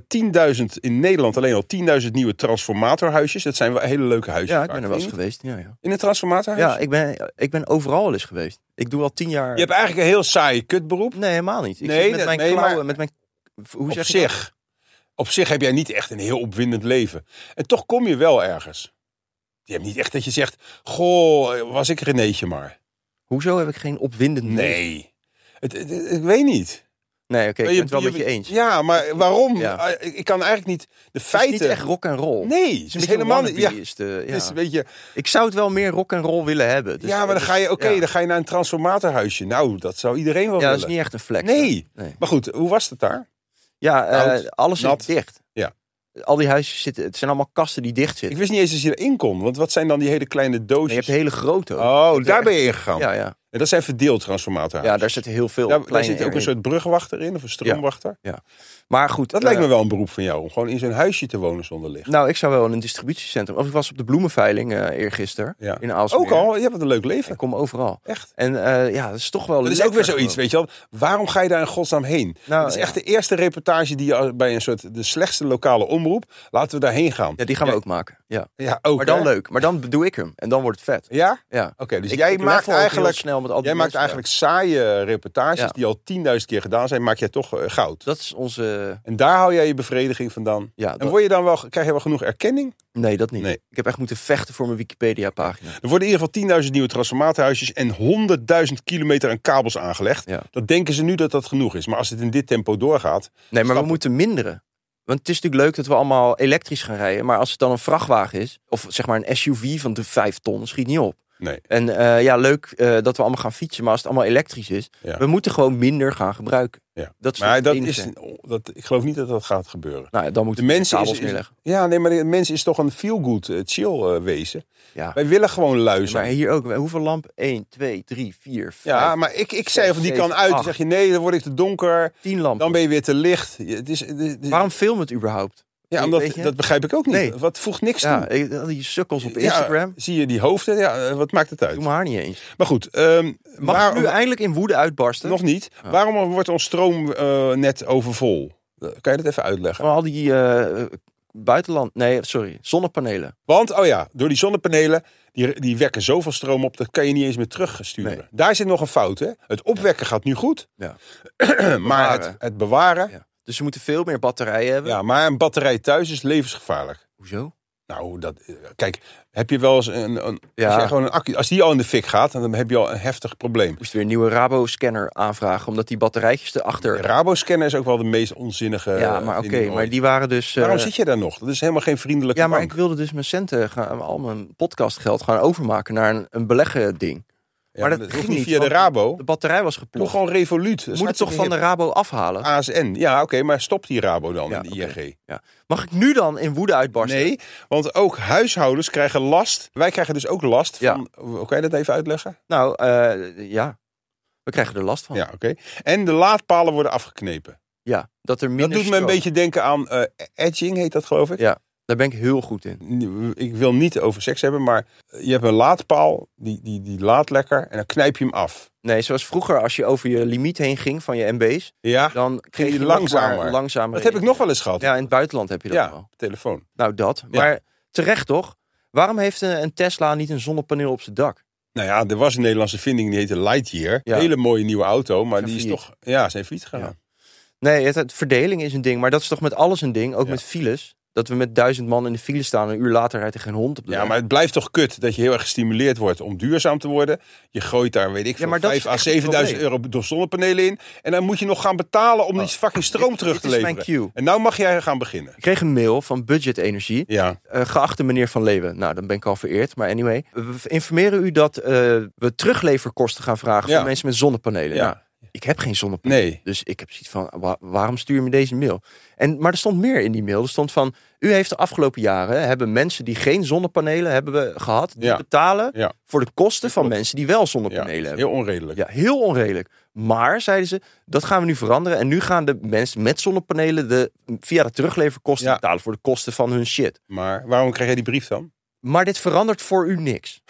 [SPEAKER 2] 10.000 in Nederland alleen al 10.000 nieuwe transformatorhuisjes. Dat zijn wel hele leuke huisjes.
[SPEAKER 3] Ja, ik
[SPEAKER 2] vaak,
[SPEAKER 3] ben er
[SPEAKER 2] vind
[SPEAKER 3] wel eens
[SPEAKER 2] je
[SPEAKER 3] geweest. Ja, ja.
[SPEAKER 2] niet? In een transformatorhuis?
[SPEAKER 3] ja ik, ben, ik ben overal wel eens geweest. Ik doe al tien jaar.
[SPEAKER 2] Je hebt eigenlijk een heel saai kutberoep.
[SPEAKER 3] Nee, helemaal niet. Ik
[SPEAKER 2] Nee,
[SPEAKER 3] zit met
[SPEAKER 2] dat-
[SPEAKER 3] mijn
[SPEAKER 2] nee,
[SPEAKER 3] klauwen,
[SPEAKER 2] maar-
[SPEAKER 3] met mijn. Hoe
[SPEAKER 2] op
[SPEAKER 3] zeg je dat?
[SPEAKER 2] zich. Op zich heb jij niet echt een heel opwindend leven. En toch kom je wel ergens. Je hebt niet echt dat je zegt, goh, was ik Renéetje maar.
[SPEAKER 3] Hoezo heb ik geen opwindend leven?
[SPEAKER 2] Nee. Het, het- het- ik weet niet.
[SPEAKER 3] Nee, oké, ik ben het wel met je eens.
[SPEAKER 2] Ja, maar waarom?
[SPEAKER 3] Ja.
[SPEAKER 2] Ah, Ik ik kan eigenlijk niet de
[SPEAKER 3] Het is
[SPEAKER 2] feiten...
[SPEAKER 3] niet echt rock and roll.
[SPEAKER 2] Nee,
[SPEAKER 3] Het
[SPEAKER 2] het
[SPEAKER 3] is
[SPEAKER 2] is,
[SPEAKER 3] een beetje
[SPEAKER 2] helemaal niet...
[SPEAKER 3] wannabe
[SPEAKER 2] Ja,
[SPEAKER 3] is de- ja.
[SPEAKER 2] het is een beetje,
[SPEAKER 3] Ik zou het wel meer rock and roll willen hebben. Dus-
[SPEAKER 2] ja, maar dan
[SPEAKER 3] dus-
[SPEAKER 2] ga je, oké,
[SPEAKER 3] ja.
[SPEAKER 2] dan ga je naar een transformatorhuisje. Nou, dat zou iedereen wel
[SPEAKER 3] Ja, dat
[SPEAKER 2] willen.
[SPEAKER 3] is niet echt een flex.
[SPEAKER 2] Nee.
[SPEAKER 3] hè? Nee.
[SPEAKER 2] Maar goed, hoe was het daar?
[SPEAKER 3] Ja, eh,
[SPEAKER 2] Koud,
[SPEAKER 3] alles
[SPEAKER 2] nat.
[SPEAKER 3] is dicht.
[SPEAKER 2] Ja.
[SPEAKER 3] Al die huisjes zitten, het zijn allemaal kasten die dicht
[SPEAKER 2] Ik
[SPEAKER 3] zitten.
[SPEAKER 2] wist niet eens dat je erin kon. Want wat zijn dan die hele kleine
[SPEAKER 3] Maar je
[SPEAKER 2] doosjes?
[SPEAKER 3] hebt hele grote. ook.
[SPEAKER 2] Oh,
[SPEAKER 3] Ik
[SPEAKER 2] daar
[SPEAKER 3] heb
[SPEAKER 2] ben je ingegaan.
[SPEAKER 3] Ja, ja.
[SPEAKER 2] En dat zijn verdeeld transformatorhuizen.
[SPEAKER 3] ja, daar zitten heel veel.
[SPEAKER 2] Daar, daar
[SPEAKER 3] kleine
[SPEAKER 2] zit ook een
[SPEAKER 3] erin.
[SPEAKER 2] soort brugwachter in, of een stroomwachter.
[SPEAKER 3] Maar goed,
[SPEAKER 2] Dat
[SPEAKER 3] eh,
[SPEAKER 2] lijkt me wel een beroep van jou, om gewoon in zo'n huisje te wonen zonder licht.
[SPEAKER 3] Nou, ik zou wel in een distributiecentrum. Of ik was op de bloemenveiling eh eergisteren
[SPEAKER 2] Ja.
[SPEAKER 3] in Aalsmeer.
[SPEAKER 2] Ook al, je hebt wat een leuk leven.
[SPEAKER 3] Ik kom overal.
[SPEAKER 2] Echt.
[SPEAKER 3] En eh, ja, dat is toch wel.
[SPEAKER 2] Dat is ook weer
[SPEAKER 3] lekker
[SPEAKER 2] zoiets,
[SPEAKER 3] gewoon.
[SPEAKER 2] weet je wel. Waarom ga je daar in godsnaam heen?
[SPEAKER 3] Nou,
[SPEAKER 2] dat is
[SPEAKER 3] ja.
[SPEAKER 2] echt de eerste reportage die je bij een soort de slechtste lokale omroep. Laten we daarheen gaan.
[SPEAKER 3] Ja, die gaan we
[SPEAKER 2] Ja.
[SPEAKER 3] ook maken. Ja.
[SPEAKER 2] Ja, ook.
[SPEAKER 3] Maar dan
[SPEAKER 2] hè?
[SPEAKER 3] leuk. Maar dan doe ik hem. En dan wordt het vet.
[SPEAKER 2] Ja?
[SPEAKER 3] Ja.
[SPEAKER 2] Oké, dus
[SPEAKER 3] Ik-
[SPEAKER 2] jij
[SPEAKER 3] ik level ook
[SPEAKER 2] maakt
[SPEAKER 3] heel
[SPEAKER 2] eigenlijk,
[SPEAKER 3] snel met al die
[SPEAKER 2] jij maakt
[SPEAKER 3] mensen.
[SPEAKER 2] eigenlijk saaie reportages
[SPEAKER 3] Ja.
[SPEAKER 2] die al 10.000 keer gedaan zijn, maak jij toch eh, goud.
[SPEAKER 3] Dat is onze.
[SPEAKER 2] En daar hou jij je bevrediging vandaan.
[SPEAKER 3] Ja,
[SPEAKER 2] En
[SPEAKER 3] dat-
[SPEAKER 2] word je dan wel, krijg je wel genoeg erkenning?
[SPEAKER 3] Nee, dat niet.
[SPEAKER 2] Nee.
[SPEAKER 3] Ik heb echt moeten vechten voor mijn Wikipedia-pagina.
[SPEAKER 2] Er worden in ieder geval 10.000 nieuwe transformatorhuisjes en 100.000 kilometer aan kabels aangelegd.
[SPEAKER 3] Ja.
[SPEAKER 2] Dat denken ze nu dat dat genoeg is. Maar als het in dit tempo doorgaat.
[SPEAKER 3] Nee, maar
[SPEAKER 2] Snap
[SPEAKER 3] we
[SPEAKER 2] ik.
[SPEAKER 3] moeten minderen. Want het is natuurlijk leuk dat we allemaal elektrisch gaan rijden. Maar als het dan een vrachtwagen is, of zeg maar een SUV van de 5 ton, schiet niet op.
[SPEAKER 2] Nee.
[SPEAKER 3] En eh, ja, leuk eh, dat we allemaal gaan fietsen, maar als het allemaal elektrisch is,
[SPEAKER 2] Ja.
[SPEAKER 3] we moeten gewoon minder gaan gebruiken.
[SPEAKER 2] Ja.
[SPEAKER 3] Dat is
[SPEAKER 2] Maar
[SPEAKER 3] het
[SPEAKER 2] dat
[SPEAKER 3] enige.
[SPEAKER 2] is, dat, ik geloof niet dat dat gaat gebeuren.
[SPEAKER 3] Nou, ja, dan moeten
[SPEAKER 2] De
[SPEAKER 3] we de
[SPEAKER 2] mensen
[SPEAKER 3] kabels
[SPEAKER 2] is- is-
[SPEAKER 3] neerleggen.
[SPEAKER 2] Ja, nee, maar de mens is toch een feel-good, eh, chill eh, wezen.
[SPEAKER 3] Ja.
[SPEAKER 2] Wij willen gewoon
[SPEAKER 3] Maar
[SPEAKER 2] luisteren.
[SPEAKER 3] hier ook, hoeveel lamp? 1, 2, 3, 4, 5,
[SPEAKER 2] ja, maar ik, ik zei
[SPEAKER 3] zes,
[SPEAKER 2] van die
[SPEAKER 3] zeven,
[SPEAKER 2] kan uit. Dan
[SPEAKER 3] acht.
[SPEAKER 2] zeg je nee, dan word ik te donker.
[SPEAKER 3] 10 lampen.
[SPEAKER 2] Dan ben je weer te licht. Je- Het is, het is- het is-
[SPEAKER 3] Waarom film het überhaupt?
[SPEAKER 2] ja, omdat,
[SPEAKER 3] weet je?
[SPEAKER 2] dat begrijp ik ook niet.
[SPEAKER 3] Nee.
[SPEAKER 2] Wat voegt niks
[SPEAKER 3] Ja,
[SPEAKER 2] toe?
[SPEAKER 3] ik- al die sukkels op
[SPEAKER 2] Ja,
[SPEAKER 3] Instagram,
[SPEAKER 2] zie je die hoofden? Ja, eh, wat maakt het uit?
[SPEAKER 3] doe maar haar niet eens.
[SPEAKER 2] Maar goed, ehm
[SPEAKER 3] Mag
[SPEAKER 2] waarom-
[SPEAKER 3] ik nu eindelijk in woede uitbarsten?
[SPEAKER 2] nog niet. Waarom wordt ons stroomnet overvol? Eh, Kan je dat even uitleggen?
[SPEAKER 3] Van al die eh, buitenland, nee, sorry, zonnepanelen.
[SPEAKER 2] Want, oh ja, door die zonnepanelen, die, die wekken zoveel stroom op, dat kan je niet eens meer terugsturen.
[SPEAKER 3] Nee.
[SPEAKER 2] Daar zit nog een fout, hè? Het opwekken gaat nu goed,
[SPEAKER 3] Ja.
[SPEAKER 2] maar het,
[SPEAKER 3] Bewaren.
[SPEAKER 2] het bewaren... Ja.
[SPEAKER 3] Ja. Dus ze moeten veel meer batterijen hebben.
[SPEAKER 2] maar een batterij thuis is levensgevaarlijk.
[SPEAKER 3] Hoezo?
[SPEAKER 2] Nou, dat, eh, kijk, heb je wel eens een, een,
[SPEAKER 3] Ja.
[SPEAKER 2] als, je gewoon een accu, als die al in de fik gaat, dan heb je al een heftig probleem.
[SPEAKER 3] Moest weer een nieuwe Rabo-scanner aanvragen, omdat die batterijtjes
[SPEAKER 2] De
[SPEAKER 3] erachter...
[SPEAKER 2] Raboscanner is ook wel de meest onzinnige.
[SPEAKER 3] ja,
[SPEAKER 2] eh,
[SPEAKER 3] maar oké,
[SPEAKER 2] vinding
[SPEAKER 3] maar
[SPEAKER 2] ooit.
[SPEAKER 3] die waren dus... eh,
[SPEAKER 2] Waarom zit je daar nog? Dat is helemaal geen vriendelijke
[SPEAKER 3] ja, maar
[SPEAKER 2] bank.
[SPEAKER 3] ik wilde dus mijn centen, gaan, al mijn podcastgeld gaan overmaken naar een, een beleggen ding.
[SPEAKER 2] Ja,
[SPEAKER 3] maar dat
[SPEAKER 2] hoeft
[SPEAKER 3] ging
[SPEAKER 2] niet
[SPEAKER 3] niet,
[SPEAKER 2] via de
[SPEAKER 3] want-
[SPEAKER 2] Rabo.
[SPEAKER 3] De batterij was
[SPEAKER 2] Doe
[SPEAKER 3] geploegd.
[SPEAKER 2] gewoon Revoluut.
[SPEAKER 3] Moet het toch van de Rabo afhalen?
[SPEAKER 2] ASN. Ja, oké, maar stop die Rabo dan,
[SPEAKER 3] Ja,
[SPEAKER 2] die
[SPEAKER 3] oké.
[SPEAKER 2] ING.
[SPEAKER 3] Ja. Mag ik nu dan in woede uitbarsten?
[SPEAKER 2] Nee, want ook huishoudens krijgen last. Wij krijgen dus ook last
[SPEAKER 3] Ja.
[SPEAKER 2] van... Kan je dat even uitleggen?
[SPEAKER 3] Nou, eh, ja. We krijgen er last van.
[SPEAKER 2] Ja, oké. En de laadpalen worden afgeknepen.
[SPEAKER 3] Ja, dat er minder
[SPEAKER 2] Dat doet me
[SPEAKER 3] stroom-
[SPEAKER 2] een beetje denken aan eh, edging, heet dat geloof ik.
[SPEAKER 3] Ja. Daar ben ik heel goed in.
[SPEAKER 2] Ik wil niet over seks hebben, maar je hebt een laadpaal, die, die, die laat lekker, en dan knijp je hem af.
[SPEAKER 3] Nee, zoals vroeger als je over je limiet heen ging van je MB's,
[SPEAKER 2] Ja,
[SPEAKER 3] dan kreeg
[SPEAKER 2] je
[SPEAKER 3] je nog maar
[SPEAKER 2] langzamer.
[SPEAKER 3] langzamer
[SPEAKER 2] dat heb ik nog wel eens gehad.
[SPEAKER 3] Ja, in het buitenland heb je dat
[SPEAKER 2] Ja,
[SPEAKER 3] wel.
[SPEAKER 2] telefoon.
[SPEAKER 3] Nou, dat.
[SPEAKER 2] Ja.
[SPEAKER 3] Maar terecht toch? Waarom heeft een een Tesla niet een zonnepaneel op zijn dak?
[SPEAKER 2] Nou ja, er was een Nederlandse vinding die heette Lightyear.
[SPEAKER 3] Ja.
[SPEAKER 2] Hele mooie nieuwe auto, maar
[SPEAKER 3] Zijn
[SPEAKER 2] die is
[SPEAKER 3] failliet.
[SPEAKER 2] toch... Ja, zijn fiets gegaan.
[SPEAKER 3] Nee, het, het- verdeling is een ding, maar dat is toch met alles een ding, ook
[SPEAKER 2] Ja.
[SPEAKER 3] met files. Dat we met duizend man in de file staan en een uur later rijdt er geen hond op de
[SPEAKER 2] Ja.
[SPEAKER 3] weg.
[SPEAKER 2] maar het blijft toch kut dat je heel erg gestimuleerd wordt om duurzaam te worden. Je gooit daar, weet ik veel,
[SPEAKER 3] maar dat
[SPEAKER 2] 5
[SPEAKER 3] is
[SPEAKER 2] à
[SPEAKER 3] echt het
[SPEAKER 2] 7000 euro door zonnepanelen in. En dan moet je nog gaan betalen om die fucking stroom
[SPEAKER 3] Oh, dit-
[SPEAKER 2] terug
[SPEAKER 3] dit
[SPEAKER 2] te
[SPEAKER 3] is
[SPEAKER 2] leveren.
[SPEAKER 3] mijn cue.
[SPEAKER 2] En nou mag jij gaan beginnen.
[SPEAKER 3] Ik kreeg een mail van Budget Energie.
[SPEAKER 2] Ja,
[SPEAKER 3] Eh, geachte meneer Van Leeuwen, nou dan ben ik al vereerd, maar anyway. We informeren u dat eh, we terugleverkosten gaan vragen
[SPEAKER 2] Ja.
[SPEAKER 3] voor mensen met zonnepanelen.
[SPEAKER 2] Ja.
[SPEAKER 3] Nou, ik heb geen zonnepanelen.
[SPEAKER 2] nee.
[SPEAKER 3] Dus ik heb zoiets van, wa- waarom stuur je me deze mail? En, maar er stond meer in die mail. Er stond van, u heeft de afgelopen jaren, hebben mensen die geen zonnepanelen hebben we gehad, die
[SPEAKER 2] Ja.
[SPEAKER 3] betalen
[SPEAKER 2] Ja.
[SPEAKER 3] voor de kosten van
[SPEAKER 2] Klopt.
[SPEAKER 3] mensen die wel
[SPEAKER 2] Ja,
[SPEAKER 3] zonnepanelen hebben.
[SPEAKER 2] heel onredelijk.
[SPEAKER 3] Ja, heel onredelijk. Maar, zeiden ze, dat gaan we nu veranderen. En nu gaan de mensen met zonnepanelen de, via de terugleverkosten
[SPEAKER 2] Ja.
[SPEAKER 3] betalen voor de kosten van hun shit.
[SPEAKER 2] Maar waarom krijg jij die brief dan?
[SPEAKER 3] Maar dit verandert voor u niks.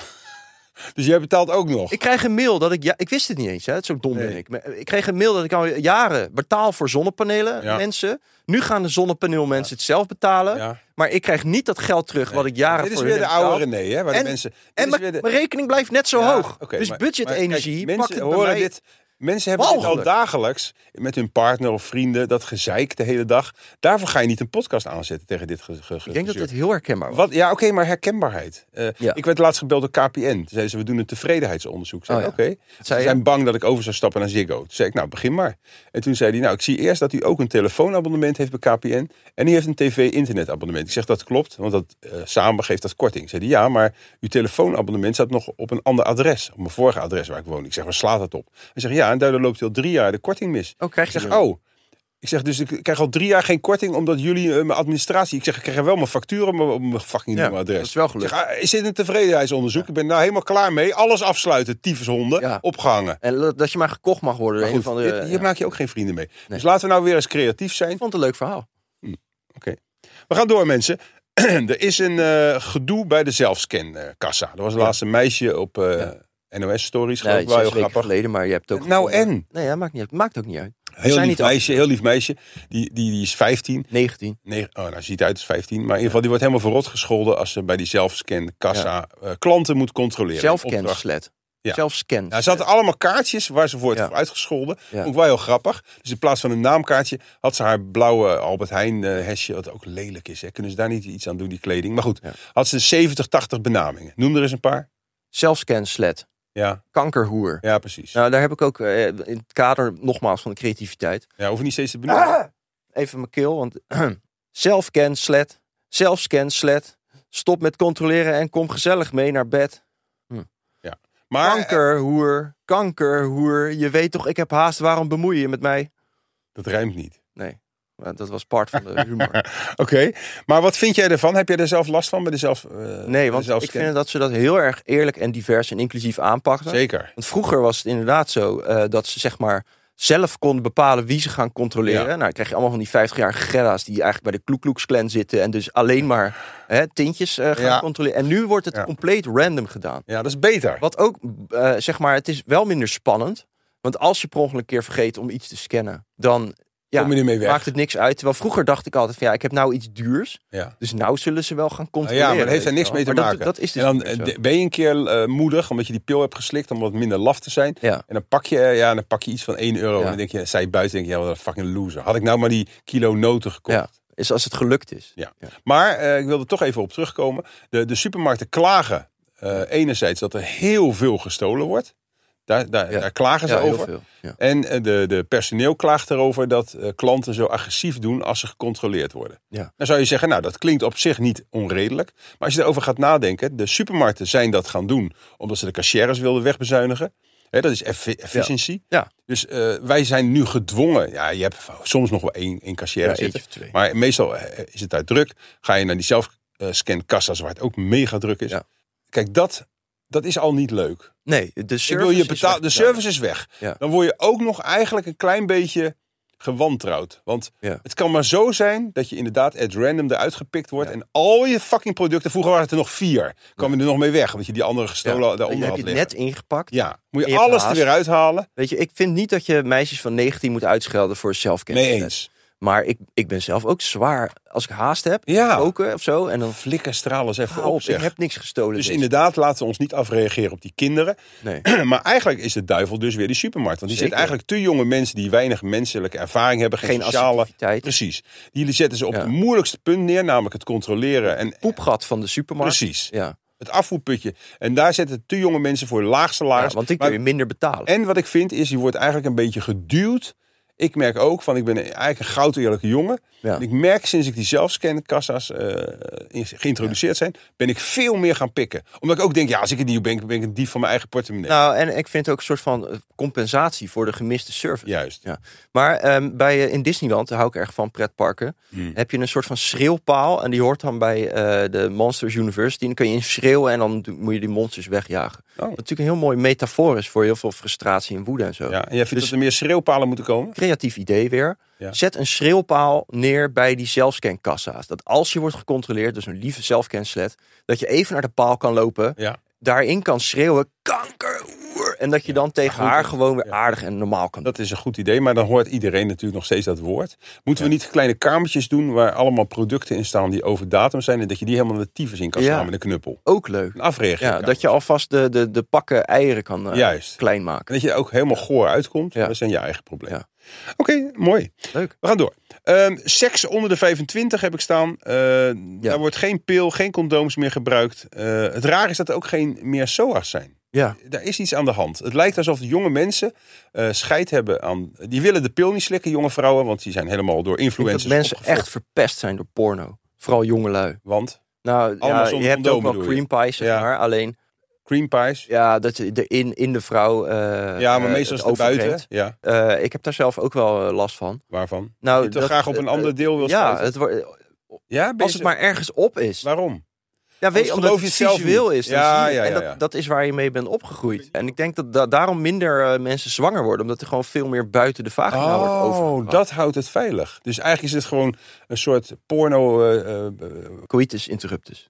[SPEAKER 2] Dus jij betaalt ook nog.
[SPEAKER 3] Ik krijg een mail dat ik... Ja, ik wist het niet eens, hè. Zo dom
[SPEAKER 2] Nee.
[SPEAKER 3] ben ik. Maar, eh, Ik kreeg een mail dat ik al jaren betaal voor zonnepanelen,
[SPEAKER 2] Ja.
[SPEAKER 3] mensen. Nu gaan de zonnepaneelmensen het zelf betalen.
[SPEAKER 2] Ja.
[SPEAKER 3] Maar ik krijg niet dat geld terug wat ik jaren
[SPEAKER 2] Dit is
[SPEAKER 3] voor
[SPEAKER 2] weer
[SPEAKER 3] hun
[SPEAKER 2] de
[SPEAKER 3] heb
[SPEAKER 2] oude
[SPEAKER 3] betaald.
[SPEAKER 2] René, hè? Waar
[SPEAKER 3] En-
[SPEAKER 2] de mensen, dit
[SPEAKER 3] En
[SPEAKER 2] is
[SPEAKER 3] mijn,
[SPEAKER 2] weer de-
[SPEAKER 3] mijn rekening blijft net zo
[SPEAKER 2] Ja,
[SPEAKER 3] hoog.
[SPEAKER 2] oké,
[SPEAKER 3] dus
[SPEAKER 2] maar- maar kijk,
[SPEAKER 3] budgetenergie pakt
[SPEAKER 2] mensen
[SPEAKER 3] het bij
[SPEAKER 2] horen
[SPEAKER 3] mij-
[SPEAKER 2] dit. Mensen hebben dit al
[SPEAKER 3] walgelijk.
[SPEAKER 2] dagelijks met hun partner of vrienden, dat gezeik de hele dag. Daarvoor ga je niet een podcast aanzetten tegen dit ge- ge-
[SPEAKER 3] Ik denk dat
[SPEAKER 2] gezeur.
[SPEAKER 3] dit heel herkenbaar was.
[SPEAKER 2] Wat, ja, oké, maar herkenbaarheid. Eh,
[SPEAKER 3] Ja.
[SPEAKER 2] Ik werd laatst gebeld door KPN. Toen zeiden ze, we doen een tevredenheidsonderzoek. Ik zei,
[SPEAKER 3] Oh ja.
[SPEAKER 2] oké.
[SPEAKER 3] zei
[SPEAKER 2] Ze
[SPEAKER 3] je?
[SPEAKER 2] zijn bang dat ik over zou stappen naar Ziggo. Toen zei ik, nou, begin maar. En toen zei hij, nou, ik zie eerst dat u ook een telefoonabonnement heeft bij KPN. En u heeft een tv-internetabonnement. Ik zeg, dat klopt, want dat eh, samen geeft dat korting. Zei hij, ja, maar uw telefoonabonnement staat nog op een ander adres. Op mijn vorige adres waar ik woon. Ik zeg, waar slaat dat op? Hij zegt, ja, en daardoor loopt u al drie jaar de korting mis.
[SPEAKER 3] Oh, krijg
[SPEAKER 2] Ik
[SPEAKER 3] je
[SPEAKER 2] zeg,
[SPEAKER 3] die
[SPEAKER 2] oh. Ik zeg, dus ik krijg al drie jaar geen korting omdat jullie eh, mijn administratie... Ik zeg, ik krijg wel mijn factuur op mijn- op mijn fucking
[SPEAKER 3] Ja,
[SPEAKER 2] nieuwe adres.
[SPEAKER 3] dat is wel
[SPEAKER 2] Ik
[SPEAKER 3] gelukt.
[SPEAKER 2] zeg, ah, is dit een tevredenheidsonderzoek? Ik ben nou helemaal klaar mee. Alles afsluiten, tyfushonden,
[SPEAKER 3] Ja.
[SPEAKER 2] opgehangen.
[SPEAKER 3] En dat- dat je maar gekocht mag worden.
[SPEAKER 2] Maar
[SPEAKER 3] door een
[SPEAKER 2] goed,
[SPEAKER 3] van de,
[SPEAKER 2] dit- hier
[SPEAKER 3] ja.
[SPEAKER 2] maak je ook geen vrienden mee. Dus laten we nou weer eens creatief zijn.
[SPEAKER 3] Ik vond het een leuk verhaal.
[SPEAKER 2] We gaan door, mensen. er is een eh, gedoe bij de zelfscankassa. Er was laatst een meisje op eh, NOS-stories.
[SPEAKER 3] Nee,
[SPEAKER 2] geloof ik, wel heel
[SPEAKER 3] zes weken
[SPEAKER 2] grappig.
[SPEAKER 3] geleden, maar je hebt het ook
[SPEAKER 2] Nou,
[SPEAKER 3] gevonden.
[SPEAKER 2] en?
[SPEAKER 3] Nee, dat maakt, niet uit. maakt ook niet uit.
[SPEAKER 2] Heel
[SPEAKER 3] zijn
[SPEAKER 2] lief
[SPEAKER 3] niet
[SPEAKER 2] meisje, heel lief meisje. Die, die, die is 15.
[SPEAKER 3] 19.
[SPEAKER 2] Nee, oh, nou ziet uit als 15. Maar in ieder geval, die wordt helemaal verrot gescholden als ze bij die zelfscankassa eh, klanten moet controleren. Opdracht.
[SPEAKER 3] Zelfkenslet.
[SPEAKER 2] Ja.
[SPEAKER 3] Zelfscan.
[SPEAKER 2] Ja, ze hadden allemaal kaartjes waar ze voor het
[SPEAKER 3] Ja.
[SPEAKER 2] voor uitgescholden.
[SPEAKER 3] Ja.
[SPEAKER 2] Vond ik wel heel grappig. Dus in plaats van een naamkaartje had ze haar blauwe Albert Heijn eh, hesje. Wat ook lelijk is. Hè. Kunnen ze daar niet iets aan doen, die kleding? Maar goed,
[SPEAKER 3] Ja.
[SPEAKER 2] had ze 70, 80 benamingen. Noem er eens een paar.
[SPEAKER 3] Zelfscanslet.
[SPEAKER 2] Ja,
[SPEAKER 3] Kankerhoer.
[SPEAKER 2] ja precies. Ja,
[SPEAKER 3] Nou, daar heb ik ook eh, in het kader nogmaals van de creativiteit.
[SPEAKER 2] hoeven niet steeds te benoemen.
[SPEAKER 3] Ah, Even mijn keel, want zelfscanslet. Zelfscanslet. Stop met controleren en kom gezellig mee naar bed.
[SPEAKER 2] Ja. Maar
[SPEAKER 3] Kankerhoer, kankerhoer. Je weet toch, ik heb haast, waarom bemoei je je met mij?
[SPEAKER 2] dat rijmt niet.
[SPEAKER 3] Nee, maar dat was part van de humor.
[SPEAKER 2] Oké, maar wat vind jij ervan? Heb jij er zelf last van bij de zelf? eh,
[SPEAKER 3] Nee, want
[SPEAKER 2] zelfs-
[SPEAKER 3] ik vind dat ze dat heel erg eerlijk en divers en inclusief aanpakken.
[SPEAKER 2] Zeker.
[SPEAKER 3] Want vroeger was het inderdaad zo eh, dat ze zeg maar zelf konden bepalen wie ze gaan controleren.
[SPEAKER 2] Ja.
[SPEAKER 3] Nou, dan krijg je allemaal van die 50-jarige gerra's die eigenlijk bij de Ku Klux Klan zitten en dus alleen maar hè, tintjes eh, gaan
[SPEAKER 2] Ja.
[SPEAKER 3] controleren. En nu wordt het
[SPEAKER 2] Ja.
[SPEAKER 3] compleet random gedaan.
[SPEAKER 2] Ja, dat is beter.
[SPEAKER 3] Wat ook, eh, zeg maar, het is wel minder spannend. Want als je per ongeluk een keer vergeet om iets te scannen, dan ja,
[SPEAKER 2] Kom je ermee weg.
[SPEAKER 3] maakt het niks uit. Terwijl vroeger dacht ik altijd van ja, ik heb nou iets duurs.
[SPEAKER 2] Ja.
[SPEAKER 3] Dus nou zullen ze wel gaan
[SPEAKER 2] Nou
[SPEAKER 3] controleren.
[SPEAKER 2] ja, maar dat heeft er
[SPEAKER 3] weet
[SPEAKER 2] niks
[SPEAKER 3] je wel.
[SPEAKER 2] mee te
[SPEAKER 3] Maar dat-
[SPEAKER 2] maken.
[SPEAKER 3] Dat, is dus
[SPEAKER 2] en dan
[SPEAKER 3] niet meer zo.
[SPEAKER 2] eh, ben je een keer eh, moedig, omdat je die pil hebt geslikt, om wat minder laf te zijn.
[SPEAKER 3] Ja.
[SPEAKER 2] En dan pak je, eh, ja, dan pak je iets van 1 euro.
[SPEAKER 3] Ja.
[SPEAKER 2] En dan denk je, zij buiten, denk je, ja, wat een fucking loser. Had ik nou maar die kilo noten gekocht.
[SPEAKER 3] ja, is als het gelukt is.
[SPEAKER 2] Ja. Maar eh, ik wil er toch even op terugkomen. De, de supermarkten klagen eh, enerzijds dat er heel veel gestolen wordt. Daar, daar,
[SPEAKER 3] Ja.
[SPEAKER 2] daar klagen ze
[SPEAKER 3] Ja, heel
[SPEAKER 2] over.
[SPEAKER 3] veel. Ja.
[SPEAKER 2] En eh, de, de personeel klaagt erover dat eh, klanten zo agressief doen als ze gecontroleerd worden.
[SPEAKER 3] Ja.
[SPEAKER 2] Dan zou je zeggen, nou dat klinkt op zich niet onredelijk. Maar als je erover gaat nadenken, de supermarkten zijn dat gaan doen omdat ze de cashieres wilden wegbezuinigen. Hè, dat is effi- efficiëntie.
[SPEAKER 3] Ja.
[SPEAKER 2] Dus eh, wij zijn nu gedwongen. Ja, je hebt soms nog wel één, één cashier
[SPEAKER 3] Ja,
[SPEAKER 2] zitten.
[SPEAKER 3] eentje of twee.
[SPEAKER 2] Maar meestal eh, is het daar druk. Ga je naar die zelfscankassa's waar het ook mega druk is.
[SPEAKER 3] Ja.
[SPEAKER 2] Kijk, dat, dat is al niet leuk.
[SPEAKER 3] Nee, de service.
[SPEAKER 2] Ik wil je
[SPEAKER 3] is
[SPEAKER 2] betaal,
[SPEAKER 3] echt
[SPEAKER 2] de
[SPEAKER 3] belangrijk.
[SPEAKER 2] service is weg.
[SPEAKER 3] Ja.
[SPEAKER 2] Dan word je ook nog eigenlijk een klein beetje gewantrouwd. Want
[SPEAKER 3] Ja.
[SPEAKER 2] het kan maar zo zijn dat je inderdaad at random eruit gepikt wordt. En al je fucking producten, vroeger waren het er nog vier. Kwamen er nog mee weg, omdat je die andere gestolen
[SPEAKER 3] Ja.
[SPEAKER 2] daaronder
[SPEAKER 3] heb
[SPEAKER 2] had
[SPEAKER 3] je het
[SPEAKER 2] liggen.
[SPEAKER 3] net ingepakt.
[SPEAKER 2] Ja, moet je,
[SPEAKER 3] je hebt
[SPEAKER 2] alles er
[SPEAKER 3] haast.
[SPEAKER 2] weer uithalen.
[SPEAKER 3] Weet je, ik vind niet dat je meisjes van 19 moet uitschelden voor zelfkennis.
[SPEAKER 2] Mee eens.
[SPEAKER 3] Maar ik, ik ben zelf ook zwaar als ik haast heb.
[SPEAKER 2] Ja.
[SPEAKER 3] Koken of zo. En dan
[SPEAKER 2] Flikker straal eens even
[SPEAKER 3] Hou
[SPEAKER 2] op,
[SPEAKER 3] op, ik
[SPEAKER 2] zeg.
[SPEAKER 3] heb niks gestolen.
[SPEAKER 2] Dus
[SPEAKER 3] deze-
[SPEAKER 2] inderdaad, laten we ons niet afreageren op die kinderen.
[SPEAKER 3] Nee.
[SPEAKER 2] maar eigenlijk is de duivel dus weer die supermarkt. Want die zit
[SPEAKER 3] Zeker.
[SPEAKER 2] eigenlijk te jonge mensen die weinig menselijke ervaring hebben. Geen,
[SPEAKER 3] Geen
[SPEAKER 2] sociale...
[SPEAKER 3] assertiviteit.
[SPEAKER 2] Precies. Die zetten ze op
[SPEAKER 3] Ja.
[SPEAKER 2] het moeilijkste punt neer. Namelijk het controleren en
[SPEAKER 3] Poepgat van de supermarkt.
[SPEAKER 2] Precies.
[SPEAKER 3] Ja.
[SPEAKER 2] het afvoerputje. En daar zitten te jonge mensen voor laag
[SPEAKER 3] ja,
[SPEAKER 2] salaris.
[SPEAKER 3] want ik
[SPEAKER 2] Maar-
[SPEAKER 3] kun je minder betalen.
[SPEAKER 2] En wat ik vind is, je wordt eigenlijk een beetje geduwd. Ik merk ook, van ik ben eigenlijk een goud eerlijke jongen.
[SPEAKER 3] Ja.
[SPEAKER 2] Ik merk sinds ik die zelfscankassa's eh in- geïntroduceerd zijn, ben ik veel meer gaan pikken. Omdat ik ook denk, ja, als ik het niet ben, ben ik een dief van mijn eigen portemonnee.
[SPEAKER 3] Nou, en ik vind het ook een soort van eh, compensatie voor de gemiste service.
[SPEAKER 2] Juist.
[SPEAKER 3] Ja. Maar ehm, bij, eh, in Disneyland, daar hou ik erg van pretparken,
[SPEAKER 2] Hmm.
[SPEAKER 3] heb je een soort van schreeuwpaal. En die hoort dan bij eh, de Monsters University. En dan kun je in schreeuwen en dan do- moet je die monsters wegjagen.
[SPEAKER 2] Oh.
[SPEAKER 3] Wat natuurlijk een heel mooi metafoor is voor heel veel frustratie en woede en zo.
[SPEAKER 2] Ja, en jij vindt
[SPEAKER 3] Dus-
[SPEAKER 2] dat er meer schreeuwpalen moeten komen?
[SPEAKER 3] Creatief idee weer.
[SPEAKER 2] Ja.
[SPEAKER 3] Zet een schreeuwpaal neer bij die zelfscankassa's. Dat als je wordt gecontroleerd, dus een lieve zelfcanslet, dat je even naar de paal kan lopen
[SPEAKER 2] Ja.
[SPEAKER 3] daarin kan schreeuwen: kankerhoer. En dat je dan tegen haar gewoon weer aardig en normaal kan doen.
[SPEAKER 2] Dat is een goed idee, maar dan hoort iedereen natuurlijk nog steeds dat woord. Moeten we niet kleine kamertjes doen waar allemaal producten in staan die over datum zijn en dat je die helemaal naar de tyfus in kan
[SPEAKER 3] Ja.
[SPEAKER 2] slaan met een knuppel?
[SPEAKER 3] Ook leuk.
[SPEAKER 2] Een afreaging.
[SPEAKER 3] Ja, dat je alvast de, de, de pakken eieren kan eh,
[SPEAKER 2] Juist.
[SPEAKER 3] klein maken.
[SPEAKER 2] En dat je er ook helemaal goor uitkomt.
[SPEAKER 3] Ja.
[SPEAKER 2] Dat zijn je eigen problemen.
[SPEAKER 3] Ja.
[SPEAKER 2] Oké, mooi.
[SPEAKER 3] Leuk.
[SPEAKER 2] We gaan door. Ehm, seks onder de 25 heb ik staan. Eh, Daar wordt geen pil, geen condooms meer gebruikt. Eh, het raar is dat er ook geen meer SOA's zijn.
[SPEAKER 3] Ja.
[SPEAKER 2] Daar is iets aan de hand. Het lijkt alsof de jonge mensen eh, scheid hebben aan... Die willen de pil niet slikken, jonge vrouwen. Want die zijn helemaal door
[SPEAKER 3] Ik denk dat
[SPEAKER 2] influencers
[SPEAKER 3] mensen
[SPEAKER 2] opgevoed.
[SPEAKER 3] echt verpest zijn door porno. Vooral jongelui.
[SPEAKER 2] Want
[SPEAKER 3] Nou,
[SPEAKER 2] Allemaal
[SPEAKER 3] ja,
[SPEAKER 2] zonder
[SPEAKER 3] je hebt
[SPEAKER 2] condoom,
[SPEAKER 3] ook wel
[SPEAKER 2] bedoel
[SPEAKER 3] cream pies, zeg
[SPEAKER 2] Ja.
[SPEAKER 3] maar. Alleen,
[SPEAKER 2] cream pies.
[SPEAKER 3] ja, dat je de in, in de vrouw. eh,
[SPEAKER 2] Ja, maar
[SPEAKER 3] eh,
[SPEAKER 2] meestal is het
[SPEAKER 3] overbrengt.
[SPEAKER 2] buiten. Ja,
[SPEAKER 3] Eh, ik heb daar zelf ook wel eh, last van.
[SPEAKER 2] waarvan?
[SPEAKER 3] Nou,
[SPEAKER 2] je toch
[SPEAKER 3] dat-
[SPEAKER 2] graag op een
[SPEAKER 3] eh,
[SPEAKER 2] ander deel wil
[SPEAKER 3] Ja,
[SPEAKER 2] staan.
[SPEAKER 3] het wordt,
[SPEAKER 2] Ja, ben je
[SPEAKER 3] als het
[SPEAKER 2] zo-
[SPEAKER 3] maar ergens op is.
[SPEAKER 2] Waarom?
[SPEAKER 3] Ja, weet je,
[SPEAKER 2] Anders
[SPEAKER 3] omdat
[SPEAKER 2] geloof
[SPEAKER 3] het
[SPEAKER 2] je het zelf
[SPEAKER 3] visueel
[SPEAKER 2] niet.
[SPEAKER 3] is. dan
[SPEAKER 2] Ja,
[SPEAKER 3] zie je-
[SPEAKER 2] ja,
[SPEAKER 3] en
[SPEAKER 2] ja,
[SPEAKER 3] dat,
[SPEAKER 2] ja.
[SPEAKER 3] dat is waar je mee bent opgegroeid. En ik denk dat da- daarom minder eh, mensen zwanger worden. Omdat er gewoon veel meer buiten de vagina nou wordt
[SPEAKER 2] Oh,
[SPEAKER 3] over.
[SPEAKER 2] dat houdt het veilig. Dus eigenlijk is het gewoon een soort porno. eh, eh,
[SPEAKER 3] Coitus interruptus.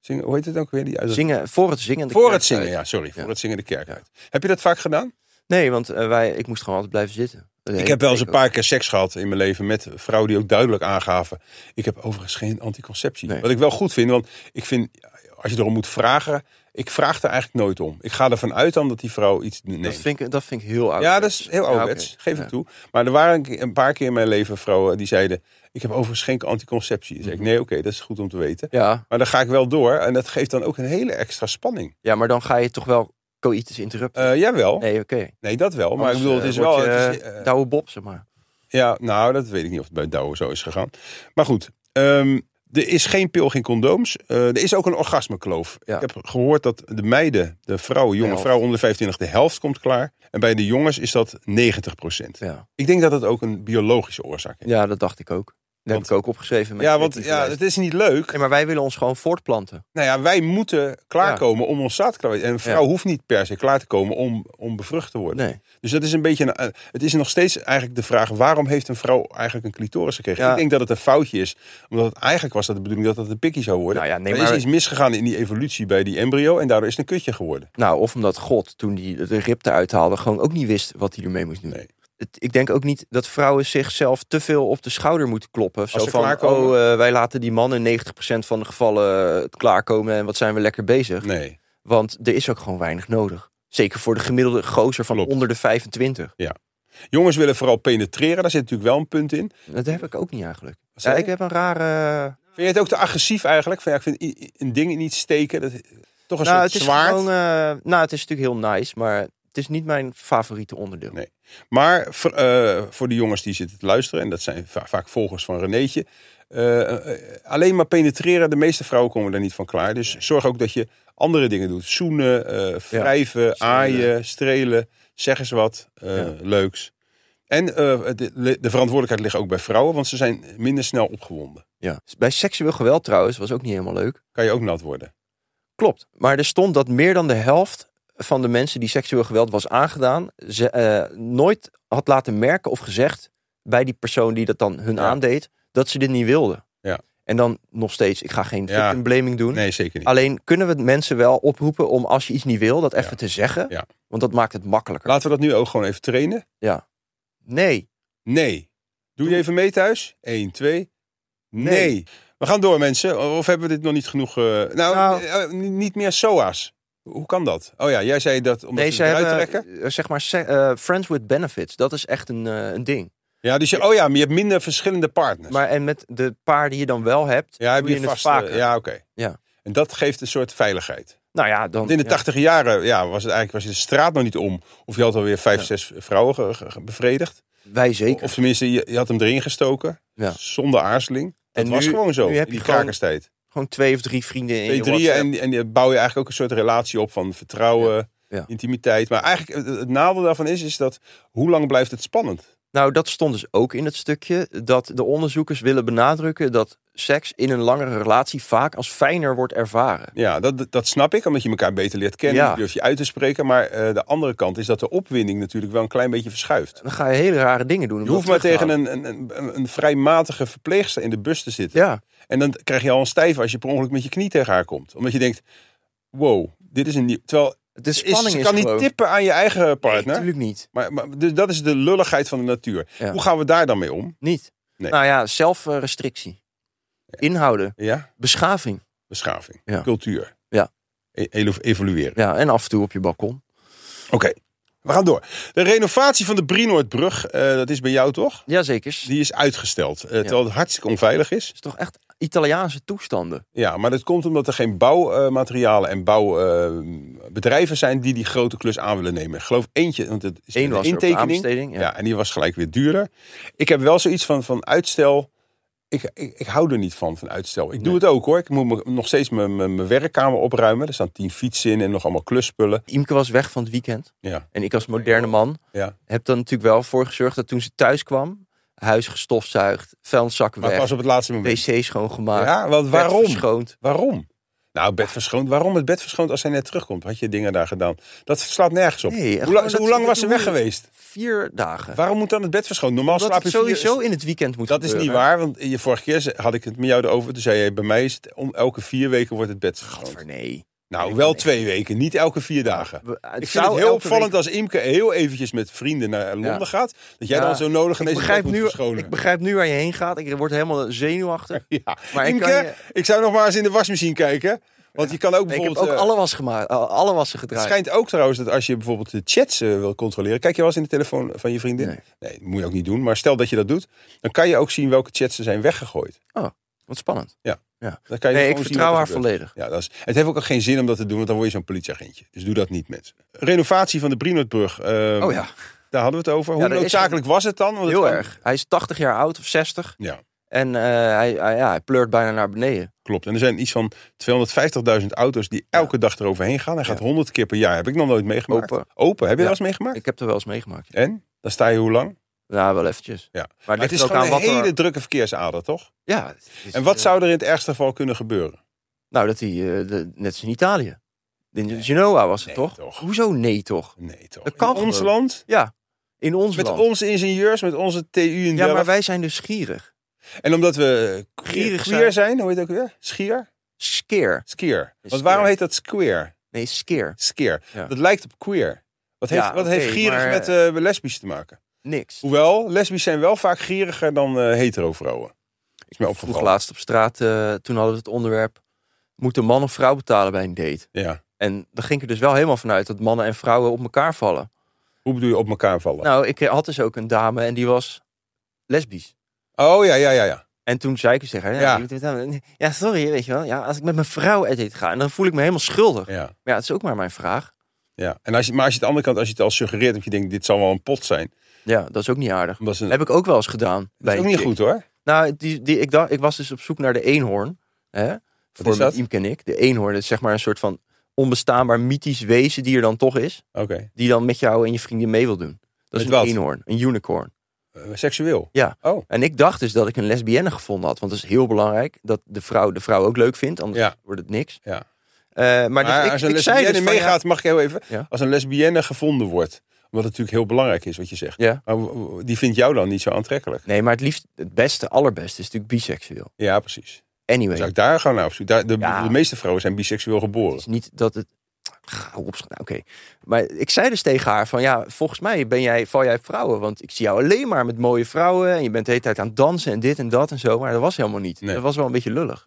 [SPEAKER 2] zingen, hoe heet het ook weer? Die, uit het-
[SPEAKER 3] Zingen, voor het zingen. de
[SPEAKER 2] voor
[SPEAKER 3] kerk
[SPEAKER 2] het zingen,
[SPEAKER 3] uit.
[SPEAKER 2] ja, sorry.
[SPEAKER 3] Ja.
[SPEAKER 2] Voor het zingen de kerk
[SPEAKER 3] Ja.
[SPEAKER 2] uit. Heb je dat vaak gedaan?
[SPEAKER 3] Nee, want eh, wij, ik moest gewoon altijd blijven zitten. Eh, De
[SPEAKER 2] Ik
[SPEAKER 3] hele
[SPEAKER 2] heb wel eens een
[SPEAKER 3] week
[SPEAKER 2] paar keer seks gehad in mijn leven met vrouwen die ook duidelijk aangaven. Ik heb overigens geen anticonceptie.
[SPEAKER 3] Nee.
[SPEAKER 2] Wat ik wel goed vind, want ik vind, als je erom moet vragen, ik vraag er eigenlijk nooit om. Ik ga ervan uit dan dat die vrouw iets
[SPEAKER 3] ook.
[SPEAKER 2] neemt.
[SPEAKER 3] Dat vind, ik, dat vind ik heel oud.
[SPEAKER 2] Ja, dat is heel ouderwets, geef ik toe. Maar er waren een keer- een paar keer in mijn leven vrouwen die zeiden... ik heb overigens geen anticonceptie. Dan zeg ik, nee, oké, dat is goed om te weten.
[SPEAKER 3] Ja,
[SPEAKER 2] Maar dan ga ik wel door en dat geeft dan ook een hele extra spanning.
[SPEAKER 3] ja, maar dan ga je toch wel coitus interruptus.
[SPEAKER 2] Eh, jawel, nee.
[SPEAKER 3] nee, eh, oké.
[SPEAKER 2] dat wel. Maar ik bedoel, het is wel... het is, eh,
[SPEAKER 3] Douwe Bob, zeg maar.
[SPEAKER 2] ja, nou, dat weet ik niet of het bij Douwe zo is gegaan. Maar goed, ehm, Er is geen pil, geen condooms. Eh, er is ook een orgasmekloof.
[SPEAKER 3] Ja.
[SPEAKER 2] Ik heb gehoord dat de meiden, de vrouwen, jonge
[SPEAKER 3] helft.
[SPEAKER 2] vrouwen onder de 25, de helft komt klaar. En bij de jongens is dat 90
[SPEAKER 3] Ja.
[SPEAKER 2] Ik denk dat dat ook een biologische oorzaak heeft.
[SPEAKER 3] ja, dat dacht ik ook. Dat
[SPEAKER 2] Want-
[SPEAKER 3] heb ik ook opgeschreven.
[SPEAKER 2] Ja,
[SPEAKER 3] met-
[SPEAKER 2] want
[SPEAKER 3] met die
[SPEAKER 2] ja,
[SPEAKER 3] verwijzing.
[SPEAKER 2] het is niet leuk.
[SPEAKER 3] Nee, maar wij willen ons gewoon voortplanten.
[SPEAKER 2] Nou ja, wij moeten klaarkomen om ons zaad te klaar En een vrouw
[SPEAKER 3] Ja.
[SPEAKER 2] hoeft niet per se klaar te komen om, om bevrucht te worden.
[SPEAKER 3] Nee.
[SPEAKER 2] Dus dat is een beetje. Een, eh, het is nog steeds eigenlijk de vraag: waarom heeft een vrouw eigenlijk een clitoris gekregen?
[SPEAKER 3] Ja.
[SPEAKER 2] Ik denk dat het een foutje is. Omdat het eigenlijk was dat de bedoeling dat het een pikkie zou worden.
[SPEAKER 3] Nou ja, nee,
[SPEAKER 2] er
[SPEAKER 3] maar-
[SPEAKER 2] is iets misgegaan in die evolutie bij die embryo. En daardoor is het een kutje geworden.
[SPEAKER 3] Nou, of omdat God, toen hij de rib eruit haalde, gewoon ook niet wist wat hij ermee moest doen.
[SPEAKER 2] Nee.
[SPEAKER 3] Het, ik denk ook niet dat vrouwen zichzelf te veel op de schouder moeten kloppen. Zo
[SPEAKER 2] ze
[SPEAKER 3] van,
[SPEAKER 2] klaarkomen.
[SPEAKER 3] oh, eh, wij laten die man in 90% van de gevallen eh, klaarkomen en wat zijn we lekker bezig.
[SPEAKER 2] Nee.
[SPEAKER 3] Want er is ook gewoon weinig nodig. Zeker voor de gemiddelde gozer van
[SPEAKER 2] Klopt.
[SPEAKER 3] onder de 25.
[SPEAKER 2] Jongens willen vooral penetreren. Daar zit natuurlijk wel een punt in.
[SPEAKER 3] Dat heb ik ook niet eigenlijk.
[SPEAKER 2] zei
[SPEAKER 3] Ja,
[SPEAKER 2] je?
[SPEAKER 3] ik heb een rare...
[SPEAKER 2] Vind je het ook te agressief eigenlijk? Van, ja, ik vind i- i- een ding niet steken. Dat, toch een
[SPEAKER 3] nou,
[SPEAKER 2] soort
[SPEAKER 3] het is
[SPEAKER 2] zwaard.
[SPEAKER 3] gewoon... eh, nou, het is natuurlijk heel nice, maar het is niet mijn favoriete onderdeel.
[SPEAKER 2] Nee. Maar voor, eh, voor de jongens die zitten te luisteren, en dat zijn va- vaak volgers van Renéetje. eh, eh, alleen maar penetreren, de meeste vrouwen komen daar niet van klaar. Dus zorg ook dat je andere dingen doet. Zoenen, eh wrijven, aaien, strelen. Zeg eens wat eh,
[SPEAKER 3] Ja.
[SPEAKER 2] leuks. En eh, de, de verantwoordelijkheid ligt ook bij vrouwen, want ze zijn minder snel opgewonden.
[SPEAKER 3] Ja. Bij seksueel geweld trouwens was ook niet helemaal leuk.
[SPEAKER 2] Kan je ook nat worden.
[SPEAKER 3] Klopt. Maar er stond dat meer dan de helft van de mensen die seksueel geweld was aangedaan, ze, eh, nooit had laten merken of gezegd bij die persoon die dat dan hun
[SPEAKER 2] Ja.
[SPEAKER 3] aandeed, dat ze dit niet wilden.
[SPEAKER 2] Ja.
[SPEAKER 3] En dan nog steeds, ik ga geen
[SPEAKER 2] Ja.
[SPEAKER 3] victim blaming doen.
[SPEAKER 2] Nee, zeker niet.
[SPEAKER 3] Alleen kunnen we mensen wel oproepen om als je iets niet wil, dat even te zeggen.
[SPEAKER 2] Ja.
[SPEAKER 3] Want dat maakt het makkelijker.
[SPEAKER 2] Laten we dat nu ook gewoon even trainen.
[SPEAKER 3] Nee.
[SPEAKER 2] Nee. Doe je even mee thuis? 1, 2. Nee.
[SPEAKER 3] Nee.
[SPEAKER 2] We gaan door, mensen. Of hebben we dit nog niet genoeg. eh, nou,
[SPEAKER 3] Nou.
[SPEAKER 2] eh, eh, niet meer SOA's. Hoe kan dat? Oh ja, jij zei dat omdat
[SPEAKER 3] nee,
[SPEAKER 2] ze
[SPEAKER 3] ze
[SPEAKER 2] het eruit
[SPEAKER 3] hebben
[SPEAKER 2] trekken.
[SPEAKER 3] eh, zeg maar se- eh, friends with benefits. Dat is echt een, eh, een ding.
[SPEAKER 2] Ja, dus je, oh ja, maar je hebt minder verschillende partners.
[SPEAKER 3] Maar en met de paar die je dan wel hebt,
[SPEAKER 2] ja, heb
[SPEAKER 3] doe
[SPEAKER 2] je,
[SPEAKER 3] je, het
[SPEAKER 2] vast. eh,
[SPEAKER 3] vaker.
[SPEAKER 2] ja, oké.
[SPEAKER 3] Ja.
[SPEAKER 2] En dat geeft een soort veiligheid.
[SPEAKER 3] Nou ja, dan
[SPEAKER 2] Want in de
[SPEAKER 3] ja.
[SPEAKER 2] tachtig jaren ja, was, het eigenlijk, was je de straat nog niet om. Of je had alweer vijf,
[SPEAKER 3] Ja.
[SPEAKER 2] zes vrouwen ge- ge- ge- bevredigd.
[SPEAKER 3] wij zeker.
[SPEAKER 2] Of tenminste, je, je had hem erin gestoken.
[SPEAKER 3] Ja.
[SPEAKER 2] Zonder aarzeling. Dat
[SPEAKER 3] En
[SPEAKER 2] was
[SPEAKER 3] nu-
[SPEAKER 2] gewoon zo.
[SPEAKER 3] nu heb
[SPEAKER 2] in
[SPEAKER 3] je
[SPEAKER 2] die
[SPEAKER 3] gewoon-
[SPEAKER 2] krakerstijd.
[SPEAKER 3] Gewoon twee of drie vrienden in je
[SPEAKER 2] Twee, drieën
[SPEAKER 3] WhatsApp.
[SPEAKER 2] E en, en je bouw je eigenlijk ook een soort relatie op van vertrouwen,
[SPEAKER 3] Ja.
[SPEAKER 2] intimiteit. Maar eigenlijk het, het nadeel daarvan is, is dat hoe lang blijft het spannend?
[SPEAKER 3] Nou, dat stond dus ook in het stukje. Dat de onderzoekers willen benadrukken dat seks in een langere relatie vaak als fijner wordt ervaren.
[SPEAKER 2] Ja, dat, dat snap ik, omdat je elkaar beter leert kennen,
[SPEAKER 3] Ja.
[SPEAKER 2] je durf je uit te spreken. Maar eh, de andere kant is dat de opwinding natuurlijk wel een klein beetje verschuift.
[SPEAKER 3] Dan ga je hele rare dingen doen. om
[SPEAKER 2] Je
[SPEAKER 3] dat
[SPEAKER 2] hoeft maar
[SPEAKER 3] terug te
[SPEAKER 2] tegen een, een, een, een vrij matige verpleegster in de bus te zitten.
[SPEAKER 3] houden. Ja,
[SPEAKER 2] En dan krijg je al een stijf als je per ongeluk met je knie tegen haar komt. Omdat je denkt, wow, dit is een nieuw... Terwijl,
[SPEAKER 3] het is
[SPEAKER 2] is-
[SPEAKER 3] spanning
[SPEAKER 2] ze
[SPEAKER 3] is
[SPEAKER 2] kan
[SPEAKER 3] gewoon-
[SPEAKER 2] niet tippen aan je eigen partner.
[SPEAKER 3] Natuurlijk niet.
[SPEAKER 2] Maar, maar dus dat is de lulligheid van de natuur.
[SPEAKER 3] Ja.
[SPEAKER 2] Hoe gaan we daar dan mee om?
[SPEAKER 3] Niet.
[SPEAKER 2] Nee.
[SPEAKER 3] Nou ja, zelfrestrictie. Inhouden.
[SPEAKER 2] Ja,
[SPEAKER 3] Beschaving.
[SPEAKER 2] beschaving,
[SPEAKER 3] Ja.
[SPEAKER 2] cultuur.
[SPEAKER 3] Ja.
[SPEAKER 2] E- elo- evolueren.
[SPEAKER 3] Ja, en af en toe op je balkon.
[SPEAKER 2] Oké, we gaan door. De renovatie van de Brienoordbrug, eh, dat is bij jou toch?
[SPEAKER 3] Jazeker. Het
[SPEAKER 2] Die is uitgesteld, eh, terwijl het hartstikke onveilig is.
[SPEAKER 3] is toch echt Italiaanse toestanden.
[SPEAKER 2] Ja, maar dat komt omdat er geen bouwmaterialen eh, en bouwbedrijven zijn die die grote klus aan willen nemen. Ik geloof eentje, want het is
[SPEAKER 3] Eén
[SPEAKER 2] een
[SPEAKER 3] was er op de
[SPEAKER 2] intekening.
[SPEAKER 3] aanbesteding.
[SPEAKER 2] Ja.
[SPEAKER 3] Ja.
[SPEAKER 2] en die was gelijk weer duurder. Ik heb wel zoiets van, van uitstel. Ik, ik, ik hou er niet van, van uitstel. Ik doe het ook hoor. Ik moet me- nog steeds mijn, mijn, mijn werkkamer opruimen. Er staan tien fietsen in en nog allemaal klusspullen.
[SPEAKER 3] Imke was weg van het weekend.
[SPEAKER 2] Ja,
[SPEAKER 3] En ik als moderne man
[SPEAKER 2] ja.
[SPEAKER 3] heb dan natuurlijk wel voor gezorgd dat toen ze thuis kwam, huis gestofzuigd, vuilniszakken
[SPEAKER 2] Maar
[SPEAKER 3] weg,
[SPEAKER 2] pas op het laatste moment.
[SPEAKER 3] wc schoongemaakt,
[SPEAKER 2] Ja, want
[SPEAKER 3] bed
[SPEAKER 2] waarom?
[SPEAKER 3] verschoond.
[SPEAKER 2] Waarom? Nou, bed verschoond. Waarom het bed verschoond als zij net terugkomt? Had je dingen daar gedaan? Dat slaat nergens op.
[SPEAKER 3] Nee,
[SPEAKER 2] hoe,
[SPEAKER 3] gewoon
[SPEAKER 2] lang-
[SPEAKER 3] dat
[SPEAKER 2] hoe
[SPEAKER 3] ze-
[SPEAKER 2] lang
[SPEAKER 3] dat
[SPEAKER 2] was ze
[SPEAKER 3] doen
[SPEAKER 2] weg
[SPEAKER 3] we-
[SPEAKER 2] geweest?
[SPEAKER 3] Vier dagen.
[SPEAKER 2] Waarom moet dan het bed verschoond? Normaal
[SPEAKER 3] Dat
[SPEAKER 2] slaap je
[SPEAKER 3] het sowieso
[SPEAKER 2] vier...
[SPEAKER 3] in het weekend moet
[SPEAKER 2] Dat is niet waar, want je, vorige keer ze- had ik het met jou erover. Toen zei je, bij mij is het om elke vier weken wordt het bed verschoond.
[SPEAKER 3] Gadver, nee.
[SPEAKER 2] Nou, wel twee weken, niet elke vier dagen.
[SPEAKER 3] We- het
[SPEAKER 2] Ik vind
[SPEAKER 3] zou
[SPEAKER 2] het heel
[SPEAKER 3] elke
[SPEAKER 2] opvallend
[SPEAKER 3] week-
[SPEAKER 2] als Imke heel eventjes met vrienden naar Londen
[SPEAKER 3] Ja.
[SPEAKER 2] gaat. Dat jij
[SPEAKER 3] Ja,
[SPEAKER 2] dan zo nodig ineens
[SPEAKER 3] Ik
[SPEAKER 2] het bed
[SPEAKER 3] begrijp,
[SPEAKER 2] moet
[SPEAKER 3] nu,
[SPEAKER 2] verschonen.
[SPEAKER 3] ik begrijp nu waar je heen gaat. Ik word helemaal zenuwachtig.
[SPEAKER 2] Ja.
[SPEAKER 3] Maar ik
[SPEAKER 2] Imke,
[SPEAKER 3] kan je-
[SPEAKER 2] ik zou nog maar eens in de wasmachine kijken. Want je kan ook
[SPEAKER 3] Nee, ik heb
[SPEAKER 2] bijvoorbeeld...
[SPEAKER 3] ook
[SPEAKER 2] eh,
[SPEAKER 3] alle, was gemaakt, eh, alle wassen
[SPEAKER 2] Het
[SPEAKER 3] gedraaid.
[SPEAKER 2] schijnt ook trouwens dat als je bijvoorbeeld de chats eh, wil controleren... Kijk je wel eens in de telefoon van je vriendin? Nee.
[SPEAKER 3] Nee.
[SPEAKER 2] dat moet je ook niet doen. Maar stel dat je dat doet, dan kan je ook zien welke chats er zijn weggegooid.
[SPEAKER 3] Wat spannend.
[SPEAKER 2] Dan kan je
[SPEAKER 3] Nee, ik
[SPEAKER 2] gewoon zien wat
[SPEAKER 3] vertrouw
[SPEAKER 2] er
[SPEAKER 3] haar
[SPEAKER 2] gebeurt.
[SPEAKER 3] volledig.
[SPEAKER 2] Ja, dat is, het heeft ook geen zin om dat te doen, want dan word je zo'n politieagentje. Dus doe dat niet, mensen. Renovatie van de Brinoordbrug. eh,
[SPEAKER 3] Oh ja,
[SPEAKER 2] Daar hadden we het over.
[SPEAKER 3] Ja,
[SPEAKER 2] Hoe
[SPEAKER 3] er is
[SPEAKER 2] noodzakelijk was het dan? Want het
[SPEAKER 3] heel
[SPEAKER 2] kan-
[SPEAKER 3] erg. Hij is 80 jaar oud of 60.
[SPEAKER 2] Ja.
[SPEAKER 3] En eh, hij, hij, ja, hij pleurt bijna naar beneden.
[SPEAKER 2] Klopt. En er zijn iets van 250.000 auto's die elke dag eroverheen gaan. Hij gaat
[SPEAKER 3] Ja.
[SPEAKER 2] 100 keer per jaar. Heb ik nog nooit meegemaakt.
[SPEAKER 3] Open.
[SPEAKER 2] Heb je
[SPEAKER 3] Ja.
[SPEAKER 2] dat eens meegemaakt?
[SPEAKER 3] Ik heb er wel eens meegemaakt.
[SPEAKER 2] En? Dan sta je hoe lang?
[SPEAKER 3] Nou, wel eventjes.
[SPEAKER 2] Ja. Maar
[SPEAKER 3] Maar het
[SPEAKER 2] het
[SPEAKER 3] ligt
[SPEAKER 2] is
[SPEAKER 3] er ook
[SPEAKER 2] gewoon
[SPEAKER 3] aan
[SPEAKER 2] een
[SPEAKER 3] wat
[SPEAKER 2] hele
[SPEAKER 3] er...
[SPEAKER 2] drukke verkeersader, toch?
[SPEAKER 3] Ja, het is,
[SPEAKER 2] En wat
[SPEAKER 3] eh,
[SPEAKER 2] zou er in het ergste geval kunnen gebeuren?
[SPEAKER 3] Nou, dat hij, eh, de- net als in Italië. In Genoa was het
[SPEAKER 2] Nee,
[SPEAKER 3] toch?
[SPEAKER 2] toch.
[SPEAKER 3] Hoezo nee toch?
[SPEAKER 2] Nee, toch?
[SPEAKER 3] Dat kan
[SPEAKER 2] in ons
[SPEAKER 3] gebeuren.
[SPEAKER 2] land?
[SPEAKER 3] Ja, in ons
[SPEAKER 2] Met
[SPEAKER 3] land.
[SPEAKER 2] onze ingenieurs, met onze TU in
[SPEAKER 3] ja, maar
[SPEAKER 2] Delft.
[SPEAKER 3] wij zijn dus gierig.
[SPEAKER 2] En omdat we queer
[SPEAKER 3] Gierig
[SPEAKER 2] queer zijn, hoe heet het ook weer? Schier?
[SPEAKER 3] Skeer.
[SPEAKER 2] Skier. Want
[SPEAKER 3] Skier.
[SPEAKER 2] waarom heet dat square?
[SPEAKER 3] Nee, skeer.
[SPEAKER 2] Skier.
[SPEAKER 3] Ja.
[SPEAKER 2] Dat lijkt op queer. Wat heeft,
[SPEAKER 3] Ja,
[SPEAKER 2] wat heeft
[SPEAKER 3] oké,
[SPEAKER 2] gierig
[SPEAKER 3] maar-
[SPEAKER 2] met eh lesbisch te maken?
[SPEAKER 3] Niks.
[SPEAKER 2] Hoewel, lesbisch zijn wel vaak gieriger dan eh hetero vrouwen. Is mij
[SPEAKER 3] Ik vroeg
[SPEAKER 2] opgevallen.
[SPEAKER 3] laatst op straat, eh, toen hadden we het onderwerp... Moet een man of vrouw betalen bij een date?
[SPEAKER 2] Ja.
[SPEAKER 3] En dan ging ik er dus wel helemaal vanuit dat mannen en vrouwen op elkaar vallen.
[SPEAKER 2] Hoe bedoel je op elkaar vallen?
[SPEAKER 3] Nou, ik had dus ook een dame en die was lesbisch.
[SPEAKER 2] Oh ja, ja, ja, ja.
[SPEAKER 3] En toen zei ik dus tegen haar,
[SPEAKER 2] Ja.
[SPEAKER 3] ja, je moet- ja sorry, weet je wel. Ja, als ik met mijn vrouw uit eten ga, en dan voel ik me helemaal schuldig.
[SPEAKER 2] ja.
[SPEAKER 3] Maar ja, het is ook maar mijn vraag.
[SPEAKER 2] Ja, en als je, maar als je aan de andere kant, als je het al suggereert, dat je denkt, dit zal wel een pot zijn.
[SPEAKER 3] Ja, dat is ook niet aardig.
[SPEAKER 2] Omdat ze,
[SPEAKER 3] Heb ik ook wel eens gedaan.
[SPEAKER 2] dat
[SPEAKER 3] bij
[SPEAKER 2] is ook
[SPEAKER 3] een
[SPEAKER 2] niet
[SPEAKER 3] chick.
[SPEAKER 2] goed hoor.
[SPEAKER 3] Nou, die, die, ik, dacht, ik was dus op zoek naar de eenhoorn. Hè, voor
[SPEAKER 2] is dat?
[SPEAKER 3] met Imke en ik. De eenhoorn is zeg maar een soort van onbestaanbaar mythisch wezen die er dan toch is.
[SPEAKER 2] Oké,
[SPEAKER 3] Die dan met jou en je vriendin mee wil doen. Dat is
[SPEAKER 2] Met
[SPEAKER 3] een
[SPEAKER 2] wat?
[SPEAKER 3] eenhoorn, een unicorn.
[SPEAKER 2] Eh, seksueel.
[SPEAKER 3] Ja.
[SPEAKER 2] Oh,
[SPEAKER 3] En ik dacht dus dat ik een lesbienne gevonden had. Want dat is heel belangrijk dat de vrouw de vrouw ook leuk vindt. Anders
[SPEAKER 2] Ja.
[SPEAKER 3] wordt het niks.
[SPEAKER 2] Ja.
[SPEAKER 3] Eh, maar
[SPEAKER 2] maar,
[SPEAKER 3] dus ik,
[SPEAKER 2] als een
[SPEAKER 3] ik zei
[SPEAKER 2] lesbienne
[SPEAKER 3] dus van, ja,
[SPEAKER 2] meegaat, mag ik heel even.
[SPEAKER 3] Ja.
[SPEAKER 2] Als een lesbienne gevonden wordt, omdat het natuurlijk heel belangrijk is wat je zegt.
[SPEAKER 3] Ja.
[SPEAKER 2] Maar w- w- die vindt jou dan niet zo aantrekkelijk.
[SPEAKER 3] Nee, maar het liefst, het beste, allerbeste is natuurlijk biseksueel.
[SPEAKER 2] Ja, precies.
[SPEAKER 3] Anyway,
[SPEAKER 2] Zou ik daar gewoon naar op zoek? Daar, de,
[SPEAKER 3] Ja.
[SPEAKER 2] de meeste vrouwen zijn biseksueel
[SPEAKER 3] het
[SPEAKER 2] geboren.
[SPEAKER 3] is niet dat het... Ga op, nou, oké. Maar ik zei dus tegen haar van, ja, volgens mij ben jij, val jij op vrouwen. Want ik zie jou alleen maar met mooie vrouwen. En je bent de hele tijd aan het dansen en dit en dat en zo. Maar dat was helemaal niet.
[SPEAKER 2] Nee.
[SPEAKER 3] Dat was wel een beetje lullig.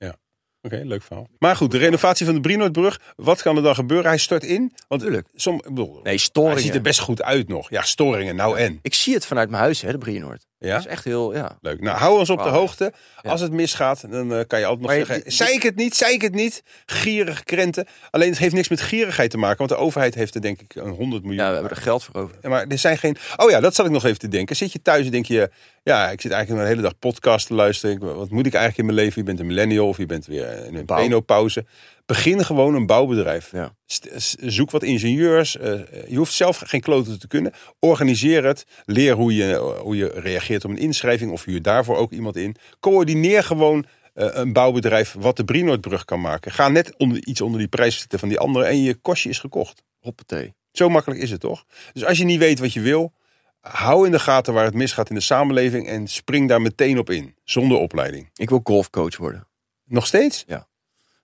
[SPEAKER 2] Oké, leuk verhaal. Maar goed, de renovatie van de Brinoordbrug. Wat kan er dan gebeuren? Hij stort in. Want
[SPEAKER 3] Tuurlijk.
[SPEAKER 2] Som, ik bedoel,
[SPEAKER 3] Nee,
[SPEAKER 2] hij
[SPEAKER 3] storingen.
[SPEAKER 2] ziet er best goed uit nog. Ja, storingen, nou en.
[SPEAKER 3] Ik zie het vanuit mijn huis, hè, de Brienoord.
[SPEAKER 2] Ja?
[SPEAKER 3] Dat is echt heel, ja.
[SPEAKER 2] Leuk. Nou, hou ons op de
[SPEAKER 3] Wow.
[SPEAKER 2] hoogte.
[SPEAKER 3] Ja.
[SPEAKER 2] Als het misgaat, dan eh, kan je altijd nog
[SPEAKER 3] Maar je-
[SPEAKER 2] zeggen...
[SPEAKER 3] die-
[SPEAKER 2] Zei ik het niet, zei ik het niet. Gierig krenten. Alleen het heeft niks met gierigheid te maken. Want de overheid heeft er denk ik een 100 miljoen.
[SPEAKER 3] Ja, we hebben er geld voor over.
[SPEAKER 2] Maar er zijn geen... Oh ja, dat zat ik nog even te denken. Zit je thuis en denk je... Ja, ik zit eigenlijk een hele dag podcast te luisteren. Ik- Wat moet ik eigenlijk in mijn leven? Je bent een millennial of je bent weer in een
[SPEAKER 3] Bouw.
[SPEAKER 2] penopauze. Begin gewoon een bouwbedrijf.
[SPEAKER 3] Ja.
[SPEAKER 2] St- s- Zoek wat ingenieurs. eh, je hoeft zelf geen kloten te kunnen. Organiseer het. Leer hoe je, eh, hoe je reageert op een inschrijving. Of huur daarvoor ook iemand in. Coördineer gewoon eh, een bouwbedrijf wat de Brinoordbrug kan maken. Ga net onder, iets onder die prijs zitten van die andere. En je kostje is gekocht.
[SPEAKER 3] Hoppatee.
[SPEAKER 2] Zo makkelijk is het toch? Dus als je niet weet wat je wil, hou in de gaten waar het misgaat in de samenleving. En spring daar meteen op in. Zonder opleiding.
[SPEAKER 3] Ik wil golfcoach worden.
[SPEAKER 2] Nog steeds?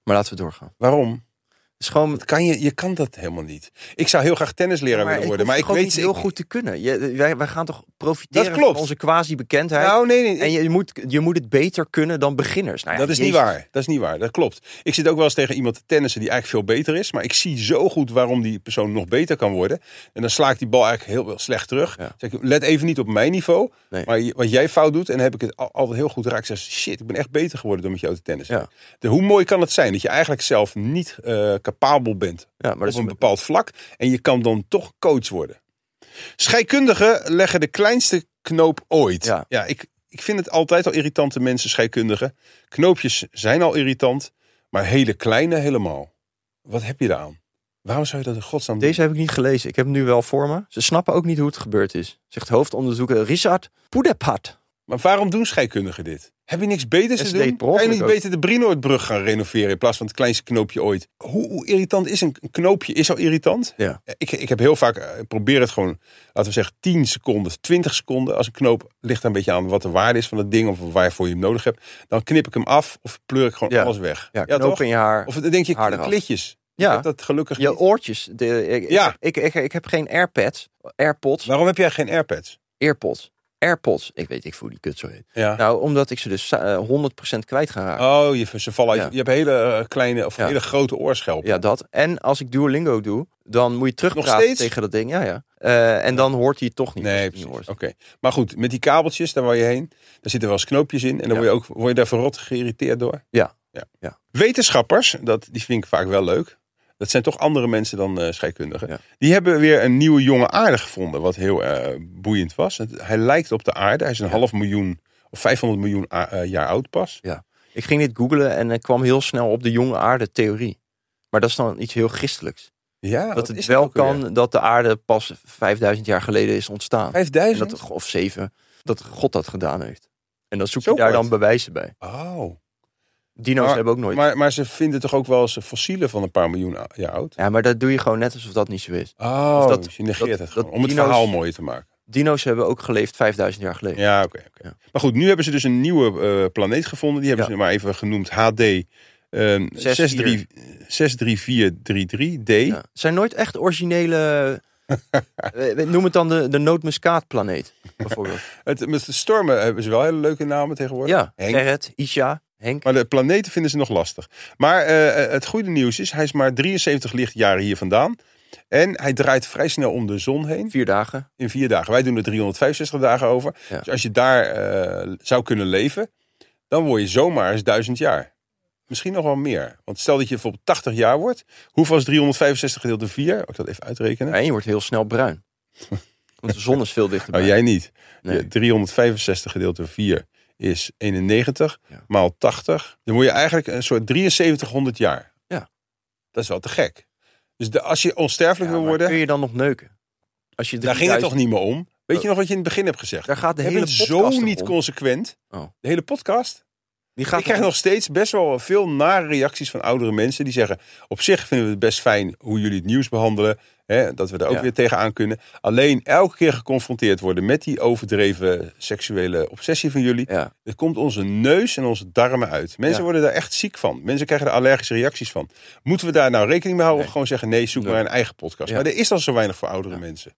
[SPEAKER 3] Maar laten we doorgaan.
[SPEAKER 2] Waarom?
[SPEAKER 3] Het is gewoon
[SPEAKER 2] Dat kan je, je kan dat helemaal niet. Ik zou heel graag tennisleraar willen worden. Maar ik
[SPEAKER 3] hoef toch ook
[SPEAKER 2] weet
[SPEAKER 3] niet
[SPEAKER 2] ze-
[SPEAKER 3] heel goed te kunnen. Je, wij, wij gaan toch profiteren
[SPEAKER 2] Dat klopt.
[SPEAKER 3] van onze quasi-bekendheid.
[SPEAKER 2] Nou, nee, nee. ik-
[SPEAKER 3] en je moet, je moet het beter kunnen dan beginners. Nou ja,
[SPEAKER 2] dat is niet
[SPEAKER 3] jezus.
[SPEAKER 2] waar. Dat is niet waar. Dat klopt. Ik zit ook wel eens tegen iemand te tennissen die eigenlijk veel beter is. Maar ik zie zo goed waarom die persoon nog beter kan worden. En dan sla ik die bal eigenlijk heel wel slecht terug.
[SPEAKER 3] Ja.
[SPEAKER 2] Zeg ik, let even niet op mijn niveau.
[SPEAKER 3] Nee.
[SPEAKER 2] Maar je- wat jij fout doet. En dan heb ik het al- altijd heel goed raak. Ik zeg, shit, ik ben echt beter geworden door met jou te tennissen.
[SPEAKER 3] Ja.
[SPEAKER 2] De, hoe mooi kan het zijn dat je eigenlijk zelf niet eh, capabel bent
[SPEAKER 3] Ja, maar
[SPEAKER 2] op
[SPEAKER 3] dat
[SPEAKER 2] een
[SPEAKER 3] is,
[SPEAKER 2] bepaald vlak. En je kan dan toch coach worden. Scheikundigen leggen de kleinste knoop ooit.
[SPEAKER 3] Ja.
[SPEAKER 2] ik, ik vind het altijd al irritante mensen, scheikundigen. Knoopjes zijn al irritant, maar hele kleine helemaal. Wat heb je daaraan? Waarom zou je dat in godsnaam doen?
[SPEAKER 3] deze heb ik niet gelezen. Ik heb hem nu wel voor me. Ze snappen ook niet hoe het gebeurd is. Zegt hoofdonderzoeker Richard Poedepat.
[SPEAKER 2] Maar waarom doen scheikundigen dit? Heb je niks beters
[SPEAKER 3] Ja,
[SPEAKER 2] te
[SPEAKER 3] ze deed
[SPEAKER 2] doen?
[SPEAKER 3] het per
[SPEAKER 2] Kan je niet
[SPEAKER 3] ongeluk ook.
[SPEAKER 2] beter de Brinoordbrug gaan renoveren in plaats van het kleinste knoopje ooit? Hoe, hoe irritant is een, een knoopje? Is al irritant?
[SPEAKER 3] Ja.
[SPEAKER 2] Ik, ik heb heel vaak, eh, ik probeer het gewoon, laten we zeggen 10 seconden, 20 seconden. Als een knoop ligt er een beetje aan wat de waarde is van het ding of waarvoor je hem nodig hebt. Dan knip ik hem af of pleur ik gewoon
[SPEAKER 3] Ja.
[SPEAKER 2] alles weg.
[SPEAKER 3] Ja, knoop in je haar.
[SPEAKER 2] Of denk je,
[SPEAKER 3] Haar eraf.
[SPEAKER 2] klitjes. Ik
[SPEAKER 3] ja,
[SPEAKER 2] heb dat gelukkig
[SPEAKER 3] je
[SPEAKER 2] niet.
[SPEAKER 3] oortjes. De, ik,
[SPEAKER 2] Ja.
[SPEAKER 3] ik, ik, ik heb geen airpads. Airpods.
[SPEAKER 2] Waarom heb jij geen airpads?
[SPEAKER 3] Airpods. Airpods. Ik weet ik hoe die kut zo heet.
[SPEAKER 2] Ja.
[SPEAKER 3] Nou, omdat ik ze dus eh, 100% kwijt ga raken.
[SPEAKER 2] Oh, je, ze vallen uit.
[SPEAKER 3] Ja.
[SPEAKER 2] Je hebt hele eh, kleine of
[SPEAKER 3] Ja.
[SPEAKER 2] hele grote oorschelpen.
[SPEAKER 3] Ja, dat. En als ik Duolingo doe, dan moet je
[SPEAKER 2] Nog
[SPEAKER 3] terugpraten
[SPEAKER 2] steeds?
[SPEAKER 3] tegen dat ding. Ja, ja. Eh, en dan hoort hij het toch niet. als
[SPEAKER 2] Nee,
[SPEAKER 3] hij het
[SPEAKER 2] precies.
[SPEAKER 3] niet
[SPEAKER 2] Oké.
[SPEAKER 3] hoort.
[SPEAKER 2] Maar goed, met die kabeltjes, daar waar je heen, daar zitten wel eens knoopjes in. En dan
[SPEAKER 3] Ja.
[SPEAKER 2] word, je ook, word je daar verrot geïrriteerd door.
[SPEAKER 3] Ja.
[SPEAKER 2] ja.
[SPEAKER 3] Ja.
[SPEAKER 2] Wetenschappers, dat, die vind ik vaak wel leuk. Dat zijn toch andere mensen dan eh, scheikundigen.
[SPEAKER 3] Ja.
[SPEAKER 2] Die hebben weer een nieuwe jonge aarde gevonden, wat heel eh, boeiend was. Het- hij lijkt op de aarde. Hij is een half miljoen of 500 miljoen a- eh, jaar oud pas.
[SPEAKER 3] Ik ging dit googlen en ik kwam heel snel op de jonge aarde theorie. Maar dat is dan iets heel christelijks.
[SPEAKER 2] Ja, wat
[SPEAKER 3] dat het
[SPEAKER 2] is
[SPEAKER 3] wel
[SPEAKER 2] ook alweer?
[SPEAKER 3] kan dat de aarde pas 5000 jaar geleden is ontstaan. En
[SPEAKER 2] 5000?
[SPEAKER 3] dat, of zeven, dat God dat gedaan heeft. En dan zoek
[SPEAKER 2] Zo
[SPEAKER 3] je daar
[SPEAKER 2] kort.
[SPEAKER 3] dan bewijzen bij.
[SPEAKER 2] Oh.
[SPEAKER 3] Dino's hebben ook nooit.
[SPEAKER 2] Maar, maar ze vinden toch ook wel eens fossielen van een paar miljoen a- jaar oud?
[SPEAKER 3] ja, maar dat doe je gewoon net alsof dat niet zo is.
[SPEAKER 2] Oh,
[SPEAKER 3] Of
[SPEAKER 2] dat,
[SPEAKER 3] dat-
[SPEAKER 2] je negeert
[SPEAKER 3] dat-
[SPEAKER 2] het
[SPEAKER 3] dat
[SPEAKER 2] gewoon, om het
[SPEAKER 3] dino's-
[SPEAKER 2] verhaal mooier te maken.
[SPEAKER 3] Dino's hebben ook geleefd 5000 jaar geleden.
[SPEAKER 2] Ja, oké. oké.
[SPEAKER 3] Ja.
[SPEAKER 2] Maar goed, nu hebben ze dus een nieuwe eh, planeet gevonden. Die hebben
[SPEAKER 3] Ja.
[SPEAKER 2] ze maar even genoemd HD ehm
[SPEAKER 3] 64.
[SPEAKER 2] 63433D.
[SPEAKER 3] Ja. Het zijn nooit echt originele. eh, Noem het dan de, de nootmuskaatplaneet, bijvoorbeeld.
[SPEAKER 2] Het, met de stormen hebben ze wel hele leuke namen tegenwoordig.
[SPEAKER 3] Ja,
[SPEAKER 2] Henk.
[SPEAKER 3] Gerrit, Isha, Henk.
[SPEAKER 2] Maar de planeten vinden ze nog lastig. Maar eh, het goede nieuws is, hij is maar 73 lichtjaren hier vandaan. En hij draait vrij snel om de zon heen
[SPEAKER 3] Vier dagen.
[SPEAKER 2] in vier dagen. Wij doen er 365 dagen over.
[SPEAKER 3] Ja.
[SPEAKER 2] Dus als je daar eh, zou kunnen leven, dan word je zomaar eens 1000 jaar. Misschien nog wel meer. Want stel dat je bijvoorbeeld 80 jaar wordt. Hoeveel is 365 gedeeld door 4? Ook dat even uitrekenen.
[SPEAKER 3] En je wordt heel snel bruin. Want de zon is veel dichterbij.
[SPEAKER 2] Nou, jij niet.
[SPEAKER 3] Nee.
[SPEAKER 2] Je- 365 gedeeld door 4 is 91
[SPEAKER 3] Ja.
[SPEAKER 2] maal 80. Dan moet je eigenlijk een soort 7300 jaar.
[SPEAKER 3] Ja.
[SPEAKER 2] Dat is wel te gek. Dus de, als je onsterfelijk
[SPEAKER 3] Ja,
[SPEAKER 2] wil
[SPEAKER 3] maar
[SPEAKER 2] worden,
[SPEAKER 3] Kun je dan nog neuken? Als je
[SPEAKER 2] daar ging het
[SPEAKER 3] 3000
[SPEAKER 2] toch niet meer om. Weet je nog wat je in het begin hebt gezegd?
[SPEAKER 3] Daar gaat de
[SPEAKER 2] Jij
[SPEAKER 3] hele
[SPEAKER 2] bent
[SPEAKER 3] podcast
[SPEAKER 2] zo
[SPEAKER 3] toch
[SPEAKER 2] niet
[SPEAKER 3] om.
[SPEAKER 2] consequent.
[SPEAKER 3] Oh.
[SPEAKER 2] De hele podcast.
[SPEAKER 3] Die gaat
[SPEAKER 2] ik krijg
[SPEAKER 3] toch
[SPEAKER 2] nog steeds best wel veel nare reacties van oudere mensen. Die zeggen, op zich vinden we het best fijn hoe jullie het nieuws behandelen. Hè, dat we daar ook
[SPEAKER 3] Ja.
[SPEAKER 2] weer tegenaan kunnen. Alleen elke keer geconfronteerd worden met die overdreven seksuele obsessie van jullie.
[SPEAKER 3] Ja.
[SPEAKER 2] Het komt onze neus en onze darmen uit. Mensen
[SPEAKER 3] Ja.
[SPEAKER 2] worden daar echt ziek van. Mensen krijgen er allergische reacties van. Moeten we daar nou rekening mee houden? Of gewoon zeggen, nee, zoek
[SPEAKER 3] Nee.
[SPEAKER 2] maar een eigen podcast.
[SPEAKER 3] Ja.
[SPEAKER 2] Maar er is al zo weinig voor oudere mensen.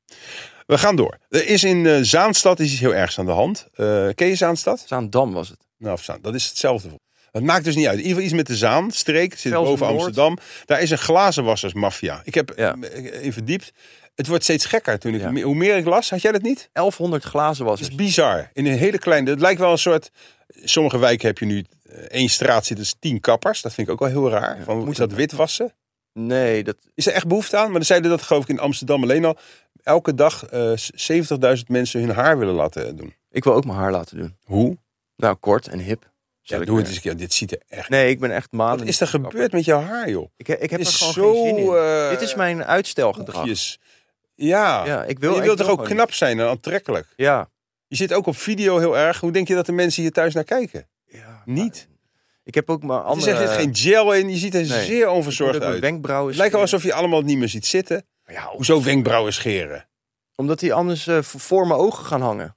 [SPEAKER 2] We gaan door. Er is in eh, Zaanstad is iets heel ergs aan de hand. Eh ken je Zaanstad?
[SPEAKER 3] Zaandam was het.
[SPEAKER 2] Nou, of Zaan, dat is hetzelfde. Het maakt dus niet uit. In ieder geval iets met de Zaanstreek. Het zit
[SPEAKER 3] Velsen
[SPEAKER 2] boven
[SPEAKER 3] Noord.
[SPEAKER 2] Amsterdam. Daar is een glazenwassersmafia. Ik heb
[SPEAKER 3] Ja.
[SPEAKER 2] eh, in verdiept. Het wordt steeds gekker. Toen ik,
[SPEAKER 3] Ja.
[SPEAKER 2] Hoe meer ik las, had jij dat niet?
[SPEAKER 3] 1100 glazen was
[SPEAKER 2] Het is
[SPEAKER 3] het.
[SPEAKER 2] bizar. In een hele kleine. Het lijkt wel een soort. Sommige wijken heb je nu. eh, één straat zit dus tien kappers. Dat vind ik ook wel heel raar.
[SPEAKER 3] Ja,
[SPEAKER 2] Van,
[SPEAKER 3] moet
[SPEAKER 2] is dat witwassen?
[SPEAKER 3] Nee, dat,
[SPEAKER 2] Is er echt behoefte aan? Maar dan zeiden dat geloof ik in Amsterdam alleen al. Elke dag eh, 70.000 mensen hun haar willen laten eh, doen.
[SPEAKER 3] ik wil ook mijn haar laten doen.
[SPEAKER 2] Hoe?
[SPEAKER 3] Nou, kort en hip.
[SPEAKER 2] Ja,
[SPEAKER 3] Zal ik
[SPEAKER 2] doe het
[SPEAKER 3] maar-
[SPEAKER 2] eens. een keer. dit ziet er echt.
[SPEAKER 3] Nee, ik ben echt maanden.
[SPEAKER 2] Wat
[SPEAKER 3] niet
[SPEAKER 2] is er
[SPEAKER 3] gekapt.
[SPEAKER 2] gebeurd met jouw haar, joh?
[SPEAKER 3] Ik, ik heb
[SPEAKER 2] Het
[SPEAKER 3] er
[SPEAKER 2] is
[SPEAKER 3] gewoon
[SPEAKER 2] zo.
[SPEAKER 3] geen zin in.
[SPEAKER 2] eh,
[SPEAKER 3] Dit is mijn uitstelgedrag.
[SPEAKER 2] hoekjes. Ja.
[SPEAKER 3] Ja, ik wil,
[SPEAKER 2] je
[SPEAKER 3] ik
[SPEAKER 2] wilt toch
[SPEAKER 3] wil
[SPEAKER 2] ook
[SPEAKER 3] gewoon
[SPEAKER 2] knap zijn en aantrekkelijk?
[SPEAKER 3] niet. Ja.
[SPEAKER 2] Je zit ook op video heel erg. Hoe denk je dat de mensen hier thuis naar kijken?
[SPEAKER 3] ja maar
[SPEAKER 2] Niet.
[SPEAKER 3] Ik heb ook maar
[SPEAKER 2] Er
[SPEAKER 3] andere...
[SPEAKER 2] zit echt geen gel in. Je ziet er
[SPEAKER 3] Nee.
[SPEAKER 2] zeer
[SPEAKER 3] Ik moet ook
[SPEAKER 2] onverzorgd
[SPEAKER 3] mijn
[SPEAKER 2] uit.
[SPEAKER 3] wenkbrauwen
[SPEAKER 2] Het lijkt wel
[SPEAKER 3] scheren.
[SPEAKER 2] alsof je allemaal het niet meer ziet zitten.
[SPEAKER 3] Ja, om-
[SPEAKER 2] Hoezo wenkbrauwen scheren?
[SPEAKER 3] omdat die anders eh, voor- voor mijn ogen gaan hangen.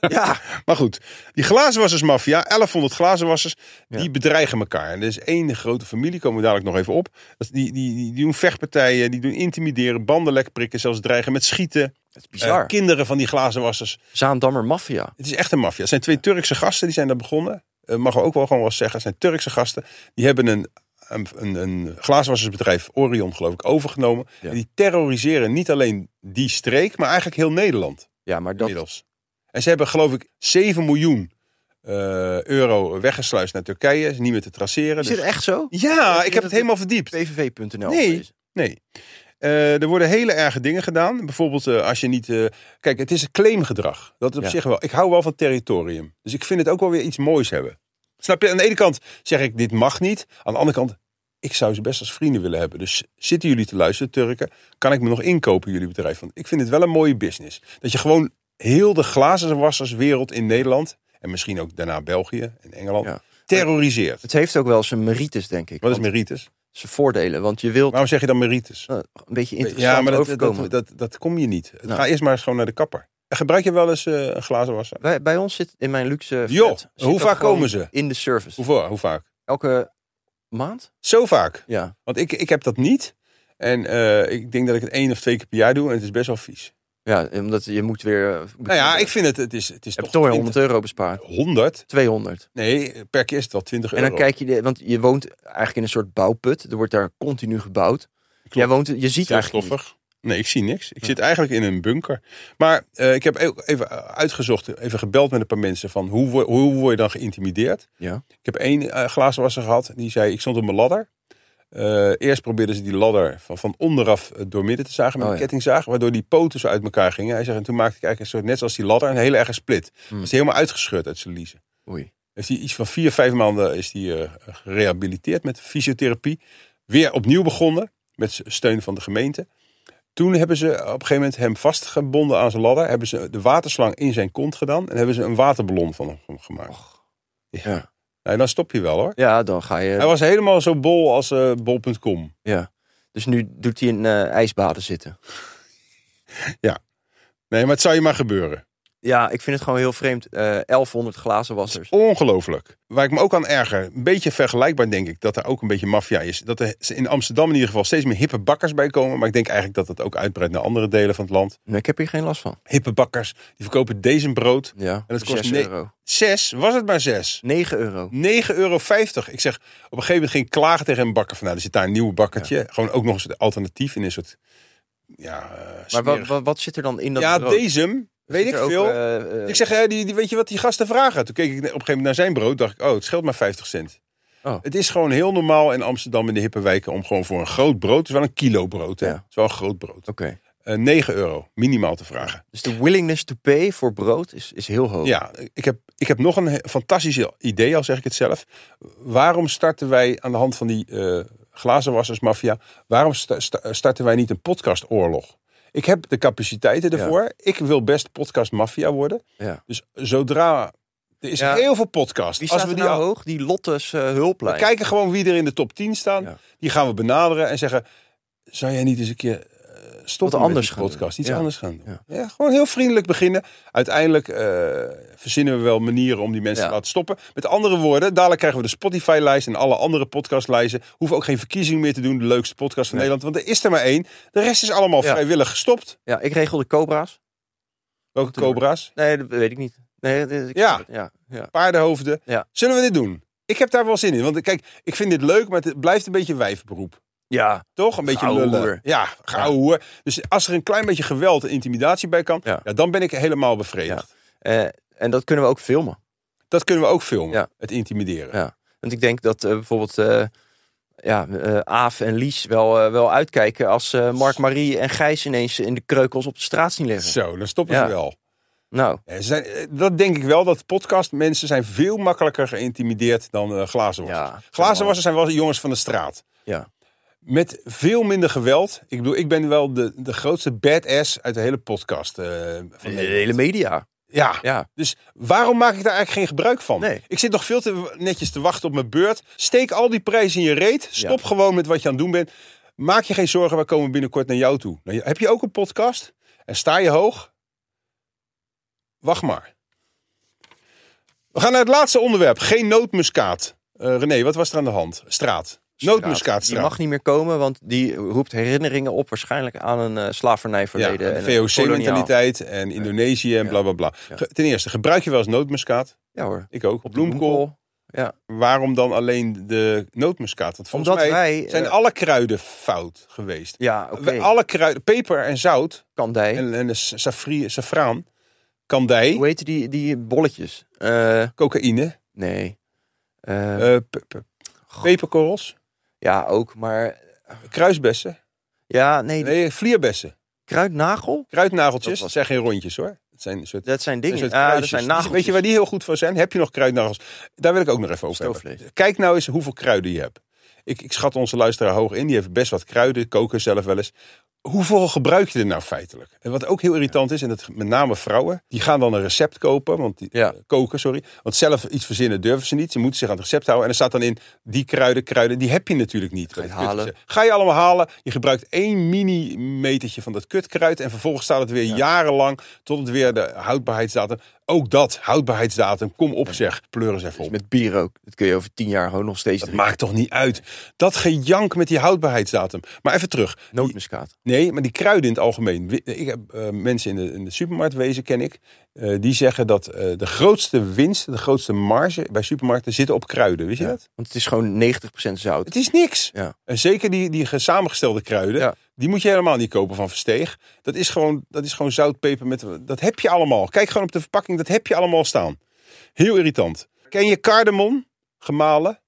[SPEAKER 3] ja.
[SPEAKER 2] Maar goed, die glazenwassersmafia, 1100 glazenwassers,
[SPEAKER 3] Ja.
[SPEAKER 2] die bedreigen elkaar. En er is één grote familie, komen we dadelijk nog even op. Dat- Die, die, die, die doen vechtpartijen, die doen intimideren, banden lekprikken, zelfs dreigen met schieten.
[SPEAKER 3] Het is bizar.
[SPEAKER 2] Eh, kinderen van die glazenwassers.
[SPEAKER 3] Zaandammer maffia.
[SPEAKER 2] Het is echt een maffia. Het zijn twee Turkse gasten, die zijn daar begonnen. Eh, mag ook wel gewoon wel zeggen, het zijn Turkse gasten. Die hebben een, een, een, een glazenwassersbedrijf, Orion geloof ik, overgenomen.
[SPEAKER 3] Ja.
[SPEAKER 2] En die terroriseren niet alleen die streek, maar eigenlijk heel Nederland.
[SPEAKER 3] Ja, maar dat...
[SPEAKER 2] inmiddels. En ze hebben geloof ik 7 miljoen eh, euro weggesluist naar Turkije. Is niet meer te traceren.
[SPEAKER 3] Is dit
[SPEAKER 2] Dus-
[SPEAKER 3] echt zo?
[SPEAKER 2] Ja, ik heb het helemaal verdiept.
[SPEAKER 3] pvv.nl.
[SPEAKER 2] Nee.
[SPEAKER 3] gelezen.
[SPEAKER 2] Nee. Eh, er worden hele erge dingen gedaan. Bijvoorbeeld eh, als je niet... eh, kijk, het is claimgedrag. Dat op
[SPEAKER 3] Ja.
[SPEAKER 2] zich wel. Ik hou wel van territorium. Dus ik vind het ook wel weer iets moois hebben. Snap je? Aan de ene kant zeg ik, dit mag niet. Aan de andere kant, ik zou ze best als vrienden willen hebben. Dus zitten jullie te luisteren, Turken? Kan ik me nog inkopen in jullie bedrijf? Want ik vind het wel een mooie business. Dat je gewoon heel de glazenwasserswereld in Nederland... en misschien ook daarna België en Engeland...
[SPEAKER 3] Ja.
[SPEAKER 2] terroriseert.
[SPEAKER 3] Het heeft ook wel zijn merites, denk ik.
[SPEAKER 2] Wat is
[SPEAKER 3] Want
[SPEAKER 2] merites?
[SPEAKER 3] Zijn voordelen. Want je wilt
[SPEAKER 2] Waarom zeg je dan merites?
[SPEAKER 3] eh, een beetje interessant
[SPEAKER 2] Ja, maar dat,
[SPEAKER 3] overkomen.
[SPEAKER 2] dat, dat, dat kom je niet.
[SPEAKER 3] Nou.
[SPEAKER 2] Ga eerst maar eens gewoon naar de kapper. Gebruik je wel eens eh, een glazen wasser?
[SPEAKER 3] Bij, bij ons zit in mijn luxe. flat
[SPEAKER 2] Joh,
[SPEAKER 3] zit
[SPEAKER 2] hoe
[SPEAKER 3] dat
[SPEAKER 2] vaak
[SPEAKER 3] gewoon
[SPEAKER 2] komen ze?
[SPEAKER 3] In de service.
[SPEAKER 2] Hoeveel, hoe vaak?
[SPEAKER 3] Elke maand?
[SPEAKER 2] Zo vaak.
[SPEAKER 3] Ja.
[SPEAKER 2] Want ik, ik heb dat niet. En eh, ik denk dat ik het één of twee keer per jaar doe. En het is best wel vies.
[SPEAKER 3] Ja, omdat je moet weer. eh,
[SPEAKER 2] Nou ja, ik vind het... Het is, het is
[SPEAKER 3] heb
[SPEAKER 2] toch
[SPEAKER 3] toch weer
[SPEAKER 2] 20
[SPEAKER 3] 100 euro bespaard.
[SPEAKER 2] 100?
[SPEAKER 3] 200.
[SPEAKER 2] Nee, per keer is het wel 20
[SPEAKER 3] En
[SPEAKER 2] euro.
[SPEAKER 3] dan kijk je, de- want je woont eigenlijk in een soort bouwput. Er wordt daar continu gebouwd. Jij woont, je ziet
[SPEAKER 2] Zeer
[SPEAKER 3] eigenlijk. niet.
[SPEAKER 2] stoffig. Nee, ik zie niks. Ik zit eigenlijk in een bunker. Maar eh, ik heb ook even uitgezocht, even gebeld met een paar mensen van hoe, wo- hoe word je dan geïntimideerd?
[SPEAKER 3] Ja.
[SPEAKER 2] Ik heb één eh glazenwasser gehad. Die zei, ik stond op mijn ladder. Eh, Eh, eerst probeerden ze die ladder van, van onderaf eh, doormidden te zagen met
[SPEAKER 3] Oh,
[SPEAKER 2] een
[SPEAKER 3] ja.
[SPEAKER 2] kettingzaag, waardoor die poten zo uit elkaar gingen. Hij zegt, en toen maakte ik eigenlijk een soort, net zoals die ladder, een hele erge split.
[SPEAKER 3] Hmm.
[SPEAKER 2] Was hij helemaal uitgescheurd uit zijn liezen.
[SPEAKER 3] Oei.
[SPEAKER 2] Heeft hij iets van vier, vijf maanden is hij eh, gerehabiliteerd met fysiotherapie. Weer opnieuw begonnen, met s- steun van de gemeente. Toen hebben ze op een gegeven moment hem vastgebonden aan zijn ladder. Hebben ze de waterslang in zijn kont gedaan. En hebben ze een waterballon van hem gemaakt.
[SPEAKER 3] Ja.
[SPEAKER 2] Nou, dan stop je wel hoor.
[SPEAKER 3] ja, dan ga je...
[SPEAKER 2] Hij was helemaal zo bol als eh, bol.com.
[SPEAKER 3] Ja. Dus nu doet hij in eh ijsbaden zitten.
[SPEAKER 2] Nee, maar het zou je maar gebeuren.
[SPEAKER 3] Ja, ik vind het gewoon heel vreemd. Eh 1100 glazen wassers.
[SPEAKER 2] Ongelooflijk. Waar ik me ook aan erger, een beetje vergelijkbaar denk ik, dat er ook een beetje maffia is. Dat er in Amsterdam in ieder geval steeds meer hippe bakkers bij komen. Maar ik denk eigenlijk dat dat ook uitbreidt naar andere delen van het land.
[SPEAKER 3] Nee, ik heb hier geen last van.
[SPEAKER 2] Hippe bakkers, die verkopen deze brood.
[SPEAKER 3] Ja,
[SPEAKER 2] En het
[SPEAKER 3] voor
[SPEAKER 2] kost
[SPEAKER 3] 6
[SPEAKER 2] ne-
[SPEAKER 3] euro.
[SPEAKER 2] Zes, was het maar zes.
[SPEAKER 3] 9 euro.
[SPEAKER 2] 9,50 euro. Ik zeg, op een gegeven moment ging ik klagen tegen een bakker. Van, nou, er zit daar een nieuw bakkertje. Gewoon ook nog eens een alternatief in een soort... Ja, eh,
[SPEAKER 3] Maar wat,
[SPEAKER 2] smerig-
[SPEAKER 3] wat, wat zit er dan in dat
[SPEAKER 2] ja
[SPEAKER 3] brood?
[SPEAKER 2] deze, weet
[SPEAKER 3] Zit
[SPEAKER 2] ik
[SPEAKER 3] er ook,
[SPEAKER 2] veel.
[SPEAKER 3] eh, eh,
[SPEAKER 2] Ik zeg, hè, die, die, weet je wat die gasten vragen? Toen keek ik op een gegeven moment naar zijn brood. dacht ik, oh, het scheelt maar 50 cent.
[SPEAKER 3] Oh.
[SPEAKER 2] Het is gewoon heel normaal in Amsterdam in de hippe wijken... om gewoon voor een groot brood, het is wel een kilo brood, hè?
[SPEAKER 3] Ja.
[SPEAKER 2] Het is wel een groot brood.
[SPEAKER 3] Oké.
[SPEAKER 2] Eh 9 euro, minimaal te vragen.
[SPEAKER 3] Dus de willingness to pay voor brood is, is heel hoog.
[SPEAKER 2] Ja, ik heb, ik heb nog een he- fantastisch idee, al zeg ik het zelf. Waarom starten wij aan de hand van die eh glazenwassersmafia... waarom sta- sta- starten wij niet een podcastoorlog? Ik heb de capaciteiten
[SPEAKER 3] Ja.
[SPEAKER 2] ervoor. Ik wil best podcastmafia worden.
[SPEAKER 3] Ja.
[SPEAKER 2] Dus zodra... Er is
[SPEAKER 3] Ja.
[SPEAKER 2] heel veel podcast.
[SPEAKER 3] Wie staat
[SPEAKER 2] we
[SPEAKER 3] er
[SPEAKER 2] al-
[SPEAKER 3] nou hoog? Die Lotte's eh, hulplijn.
[SPEAKER 2] We kijken gewoon wie er in de top 10 staan.
[SPEAKER 3] Ja.
[SPEAKER 2] Die gaan we benaderen en zeggen: zou jij niet eens een keer eh, stoppen met
[SPEAKER 3] Wat anders
[SPEAKER 2] die
[SPEAKER 3] gaan doen.
[SPEAKER 2] podcast? Iets
[SPEAKER 3] Ja.
[SPEAKER 2] anders gaan doen.
[SPEAKER 3] Ja.
[SPEAKER 2] Ja. gewoon heel vriendelijk beginnen. Uiteindelijk eh, verzinnen we wel manieren om die mensen
[SPEAKER 3] Ja.
[SPEAKER 2] te laten stoppen. Met andere woorden, dadelijk krijgen we de Spotify-lijst en alle andere podcastlijsten. Hoeven ook geen verkiezing meer te doen. De leukste podcast van
[SPEAKER 3] Nee.
[SPEAKER 2] Nederland. Want er is er maar één. De rest is allemaal
[SPEAKER 3] Ja.
[SPEAKER 2] vrijwillig gestopt.
[SPEAKER 3] Ja, ik regel de cobra's.
[SPEAKER 2] Welke
[SPEAKER 3] Tuurlijk.
[SPEAKER 2] cobra's?
[SPEAKER 3] Nee, dat weet ik niet. Nee, dat- ik-
[SPEAKER 2] Ja.
[SPEAKER 3] ja. Ja.
[SPEAKER 2] Paardenhoofden.
[SPEAKER 3] Ja.
[SPEAKER 2] Zullen we dit doen? Ik heb daar wel zin in. Want kijk, ik vind dit leuk, maar het blijft een beetje wijfberoep.
[SPEAKER 3] Ja.
[SPEAKER 2] Toch? Een beetje
[SPEAKER 3] Gouden
[SPEAKER 2] lullen.
[SPEAKER 3] hoer.
[SPEAKER 2] Ja, gouden hoer. Dus als er een klein beetje geweld en intimidatie bij kan, ja.
[SPEAKER 3] Ja.
[SPEAKER 2] dan ben ik helemaal bevredigd.
[SPEAKER 3] Eh, en dat kunnen we ook filmen.
[SPEAKER 2] Dat kunnen we ook filmen,
[SPEAKER 3] Ja.
[SPEAKER 2] het intimideren.
[SPEAKER 3] Ja. Want ik denk dat eh, bijvoorbeeld eh ja, eh, Aaf en Lies wel, eh, wel uitkijken als eh, Mark, Marie en Gijs ineens in de kreukels op de straat zien liggen.
[SPEAKER 2] Zo, dan stoppen
[SPEAKER 3] Ja.
[SPEAKER 2] ze wel.
[SPEAKER 3] Nou,
[SPEAKER 2] Ja, ze zijn, eh, dat denk ik wel, dat podcastmensen zijn veel makkelijker geïntimideerd dan eh glazenwassers.
[SPEAKER 3] ja.
[SPEAKER 2] glazenwassers zijn wel jongens van de straat.
[SPEAKER 3] Ja.
[SPEAKER 2] Met veel minder geweld. Ik bedoel, ik ben wel de, de grootste badass uit de hele podcast. eh, van
[SPEAKER 3] De
[SPEAKER 2] Nederland.
[SPEAKER 3] hele media.
[SPEAKER 2] Ja.
[SPEAKER 3] Ja.
[SPEAKER 2] Dus waarom maak ik daar eigenlijk geen gebruik van?
[SPEAKER 3] Nee.
[SPEAKER 2] Ik zit nog veel te netjes te wachten op mijn beurt. Steek al die prijzen in je reet. Stop gewoon met wat je aan het doen bent. Maak je geen zorgen, we komen binnenkort naar jou toe. Nou, heb je ook een podcast? En sta je hoog? Wacht maar. We gaan naar het laatste onderwerp. Geen noodmuskaat. Eh, René, wat was er aan de hand? Straat.
[SPEAKER 3] Die
[SPEAKER 2] Noodmuskaatstraat.
[SPEAKER 3] mag niet meer komen, want die roept herinneringen op waarschijnlijk aan een eh,
[SPEAKER 2] Ja,
[SPEAKER 3] slavernijverleden.
[SPEAKER 2] de
[SPEAKER 3] en een koloniaal-
[SPEAKER 2] VOC-mentaliteit en Indonesië en
[SPEAKER 3] Ja.
[SPEAKER 2] bla bla bla.
[SPEAKER 3] Ja.
[SPEAKER 2] Ge- Ten eerste, gebruik je wel eens noodmuskaat?
[SPEAKER 3] Ja hoor.
[SPEAKER 2] Ik ook.
[SPEAKER 3] Op de
[SPEAKER 2] bloemkool.
[SPEAKER 3] Ja.
[SPEAKER 2] waarom dan alleen de nootmuskaat? Want volgens
[SPEAKER 3] Omdat
[SPEAKER 2] mij
[SPEAKER 3] wij...
[SPEAKER 2] zijn
[SPEAKER 3] eh,
[SPEAKER 2] alle kruiden fout geweest.
[SPEAKER 3] ja, oké.
[SPEAKER 2] We- Alle kruiden, peper en zout
[SPEAKER 3] Kandij.
[SPEAKER 2] en, en de sa- safri, safraan, kandij,
[SPEAKER 3] Hoe heet die, die bolletjes? Eh,
[SPEAKER 2] cocaïne,
[SPEAKER 3] nee. Eh,
[SPEAKER 2] eh, pe- pe- peperkorrels,
[SPEAKER 3] ja, ook, maar...
[SPEAKER 2] kruisbessen,
[SPEAKER 3] Ja, nee, die
[SPEAKER 2] nee, vlierbessen,
[SPEAKER 3] kruidnagel?
[SPEAKER 2] kruidnageltjes.
[SPEAKER 3] Dat
[SPEAKER 2] Dat
[SPEAKER 3] was-
[SPEAKER 2] zijn geen rondjes hoor. Het zijn een soort,
[SPEAKER 3] Dat zijn dingen.
[SPEAKER 2] een soort
[SPEAKER 3] ja, dat
[SPEAKER 2] kruisjes.
[SPEAKER 3] zijn
[SPEAKER 2] Die-
[SPEAKER 3] nagels.
[SPEAKER 2] Weet je waar die heel goed voor zijn? Heb je nog kruidnagels? Daar wil ik ook nog even over
[SPEAKER 3] Stoofvlees.
[SPEAKER 2] hebben. Kijk nou eens hoeveel kruiden je hebt. Ik, ik schat onze luisteraar hoog in. Die heeft best wat kruiden, koken zelf wel eens. Hoeveel gebruik je er nou feitelijk? En wat ook heel irritant is, en dat met name vrouwen, die gaan dan een recept kopen, want die,
[SPEAKER 3] Ja.
[SPEAKER 2] eh, koken, sorry. Want zelf iets verzinnen durven ze niet. Ze moeten zich aan het recept houden. En er staat dan in, die kruiden, kruiden, die heb je natuurlijk niet.
[SPEAKER 3] Ga je
[SPEAKER 2] Bij de
[SPEAKER 3] halen.
[SPEAKER 2] kutse- Ga je allemaal halen. Je gebruikt één millimetertje van dat kutkruid. En vervolgens staat het weer jarenlang tot het weer de houdbaarheidsdatum. Ook dat, houdbaarheidsdatum. Kom op zeg, pleuren ze even
[SPEAKER 3] Dus
[SPEAKER 2] op.
[SPEAKER 3] met bier ook. Dat kun je over tien jaar gewoon nog steeds
[SPEAKER 2] Dat
[SPEAKER 3] drinken.
[SPEAKER 2] maakt toch niet uit. Dat gejank met die houdbaarheidsdatum. Maar even terug. Die-
[SPEAKER 3] Nootmuskaat.
[SPEAKER 2] Nee, maar die kruiden in het algemeen. Wi- Ik heb eh, mensen in de, in de supermarktwezen, ken ik. eh, die zeggen dat eh, de grootste winst, de grootste marge bij supermarkten zitten op kruiden. Wist je
[SPEAKER 3] Ja.
[SPEAKER 2] dat?
[SPEAKER 3] Want het is gewoon 90% zout.
[SPEAKER 2] Het is niks.
[SPEAKER 3] Ja.
[SPEAKER 2] En zeker die, die ge- samengestelde kruiden.
[SPEAKER 3] Ja.
[SPEAKER 2] Die moet je helemaal niet kopen van Versteeg. Dat is gewoon, dat is gewoon zout, peper. Met, dat heb je allemaal. Kijk gewoon op de verpakking. Dat heb je allemaal staan. Heel irritant. Ken je cardamom? Gemalen?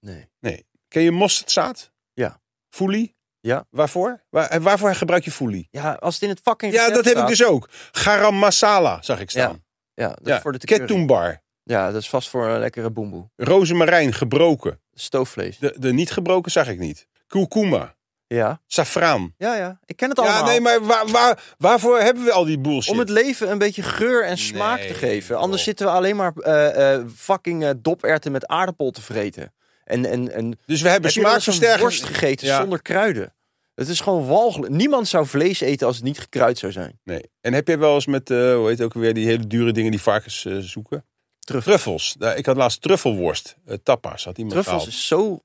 [SPEAKER 3] Nee.
[SPEAKER 2] Nee. Ken je mosterdzaad?
[SPEAKER 3] Ja.
[SPEAKER 2] Foelie?
[SPEAKER 3] Ja.
[SPEAKER 2] Waarvoor? Waar, en waarvoor gebruik je foelie?
[SPEAKER 3] Ja, als het in het fucking
[SPEAKER 2] Ja,
[SPEAKER 3] recept
[SPEAKER 2] dat heb ik
[SPEAKER 3] staat-
[SPEAKER 2] dus ook. Garam masala zag ik staan.
[SPEAKER 3] Ja, dat is
[SPEAKER 2] Ja,
[SPEAKER 3] voor de curry.
[SPEAKER 2] Ketumbar.
[SPEAKER 3] Ja, dat is vast voor een lekkere boemboe.
[SPEAKER 2] Rozemarijn gebroken.
[SPEAKER 3] Stoofvlees.
[SPEAKER 2] De, de niet gebroken zag ik niet. Kurkuma.
[SPEAKER 3] Ja.
[SPEAKER 2] Safraan.
[SPEAKER 3] Ja, ja. Ik ken het allemaal.
[SPEAKER 2] Ja, nee, maar waar, waar, waarvoor hebben we al die bullshit?
[SPEAKER 3] nou? Om het leven een beetje geur en smaak
[SPEAKER 2] Nee,
[SPEAKER 3] te geven. Anders
[SPEAKER 2] joh.
[SPEAKER 3] zitten we alleen maar eh, eh, fucking eh, doperwten met aardappel te vreten. En, en, en
[SPEAKER 2] Dus we hebben
[SPEAKER 3] heb je wel eens een
[SPEAKER 2] smaakversterkers.
[SPEAKER 3] worst gegeten
[SPEAKER 2] Ja.
[SPEAKER 3] zonder kruiden. Het is gewoon walgelijk. Niemand zou vlees eten als het niet gekruid zou zijn.
[SPEAKER 2] Nee. En heb je wel eens met, eh, hoe heet het ook weer, die hele dure dingen die varkens eh, zoeken?
[SPEAKER 3] Truffel.
[SPEAKER 2] Truffels. Nou, ik had laatst truffelworst. Eh, tapas had iemand
[SPEAKER 3] Truffels
[SPEAKER 2] gehaald.
[SPEAKER 3] is zo...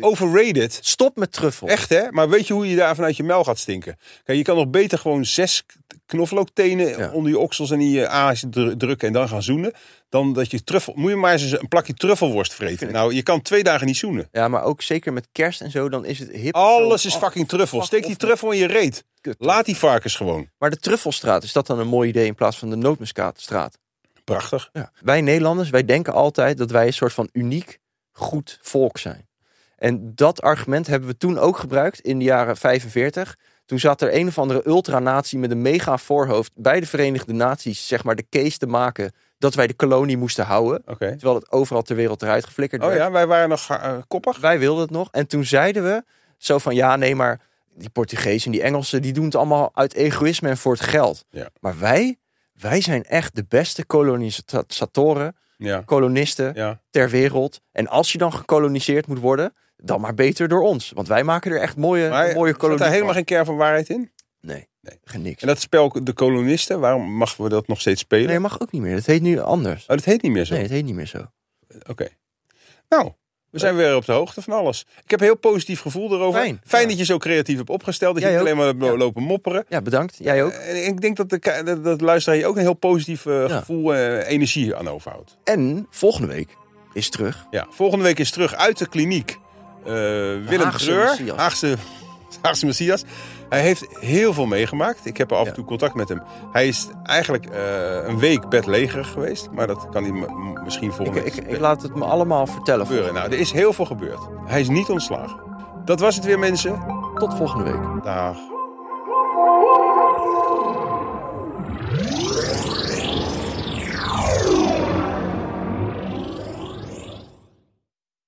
[SPEAKER 2] Overrated.
[SPEAKER 3] Stop met truffel.
[SPEAKER 2] Oh. Echt hè? Maar weet je hoe je daar vanuit je mel gaat stinken? Kijk, je kan nog beter gewoon zes k- knoflooktenen
[SPEAKER 3] Ja.
[SPEAKER 2] onder je oksels en in je aas dru- drukken en dan gaan zoenen. Dan dat je truffel. Moet je maar eens een plakje truffelworst vreten.
[SPEAKER 3] Vind ik-
[SPEAKER 2] Nou, je kan twee dagen niet zoenen.
[SPEAKER 3] Ja, maar ook zeker met kerst en zo, dan is het hip.
[SPEAKER 2] Alles
[SPEAKER 3] Zo-
[SPEAKER 2] is
[SPEAKER 3] oh,
[SPEAKER 2] fucking truffel.
[SPEAKER 3] fuck
[SPEAKER 2] Steek die
[SPEAKER 3] off.
[SPEAKER 2] truffel in je reet.
[SPEAKER 3] Kut.
[SPEAKER 2] Laat die varkens gewoon.
[SPEAKER 3] Maar de truffelstraat, is dat dan een mooi idee in plaats van de nootmuskaatstraat?
[SPEAKER 2] Prachtig.
[SPEAKER 3] Ja. Wij Nederlanders, wij denken altijd dat wij een soort van uniek goed volk zijn. En dat argument hebben we toen ook gebruikt in de jaren 45. Toen zat er een of andere ultranatie met een mega voorhoofd bij de Verenigde Naties, zeg maar, de case te maken dat wij de kolonie moesten houden.
[SPEAKER 2] Oké.
[SPEAKER 3] Terwijl het overal ter wereld eruit geflikkerd
[SPEAKER 2] Oh
[SPEAKER 3] werd.
[SPEAKER 2] ja, wij waren nog eh, koppig.
[SPEAKER 3] Wij wilden het nog. En toen zeiden we zo van ja, nee, maar die Portugezen en die Engelsen, die doen het allemaal uit egoïsme en voor het geld.
[SPEAKER 2] Ja.
[SPEAKER 3] Maar wij, wij zijn echt de beste kolonisatoren,
[SPEAKER 2] Ja.
[SPEAKER 3] kolonisten
[SPEAKER 2] Ja.
[SPEAKER 3] ter wereld. En als je dan gekoloniseerd moet worden, dan maar beter door ons. Want wij maken er echt mooie,
[SPEAKER 2] Maar
[SPEAKER 3] Eh, mooie
[SPEAKER 2] zat
[SPEAKER 3] kolonies
[SPEAKER 2] daar helemaal
[SPEAKER 3] van.
[SPEAKER 2] geen kern van waarheid in?
[SPEAKER 3] Nee,
[SPEAKER 2] Nee.
[SPEAKER 3] geen niks.
[SPEAKER 2] En dat spel De Kolonisten, waarom mag we dat nog steeds spelen?
[SPEAKER 3] Nee, mag ook niet meer. Dat heet nu anders.
[SPEAKER 2] Oh, dat heet niet meer zo.
[SPEAKER 3] Nee, het heet niet meer zo.
[SPEAKER 2] Oké. Nou, we zijn weer op de hoogte van alles. Ik heb een heel positief gevoel erover.
[SPEAKER 3] Fijn. Ja.
[SPEAKER 2] dat je zo creatief hebt opgesteld. Dat
[SPEAKER 3] Jij
[SPEAKER 2] je niet
[SPEAKER 3] ook.
[SPEAKER 2] alleen maar hebt lo-
[SPEAKER 3] Ja.
[SPEAKER 2] lopen mopperen.
[SPEAKER 3] Ja, bedankt. Jij ook.
[SPEAKER 2] En ik denk dat de ka- dat, dat luisteraar je ook een heel positief eh,
[SPEAKER 3] Ja.
[SPEAKER 2] gevoel, eh, energie aan overhoudt.
[SPEAKER 3] En volgende week is terug.
[SPEAKER 2] Ja, volgende week is terug uit de kliniek. eh, Willem
[SPEAKER 3] Haagse
[SPEAKER 2] Treur,
[SPEAKER 3] Messias.
[SPEAKER 2] Haagse, Haagse Messias. Hij heeft heel veel meegemaakt. Ik heb af en
[SPEAKER 3] Ja.
[SPEAKER 2] toe contact met hem. Hij is eigenlijk eh, een week bedlegerig geweest. Maar dat kan hij m- m- misschien
[SPEAKER 3] Ik,
[SPEAKER 2] volgende
[SPEAKER 3] ik,
[SPEAKER 2] week
[SPEAKER 3] ik laat het me allemaal vertellen.
[SPEAKER 2] gebeuren. Nou, er is heel veel gebeurd. Hij is niet ontslagen. Dat was het weer, mensen.
[SPEAKER 3] Tot volgende week.
[SPEAKER 2] Dag.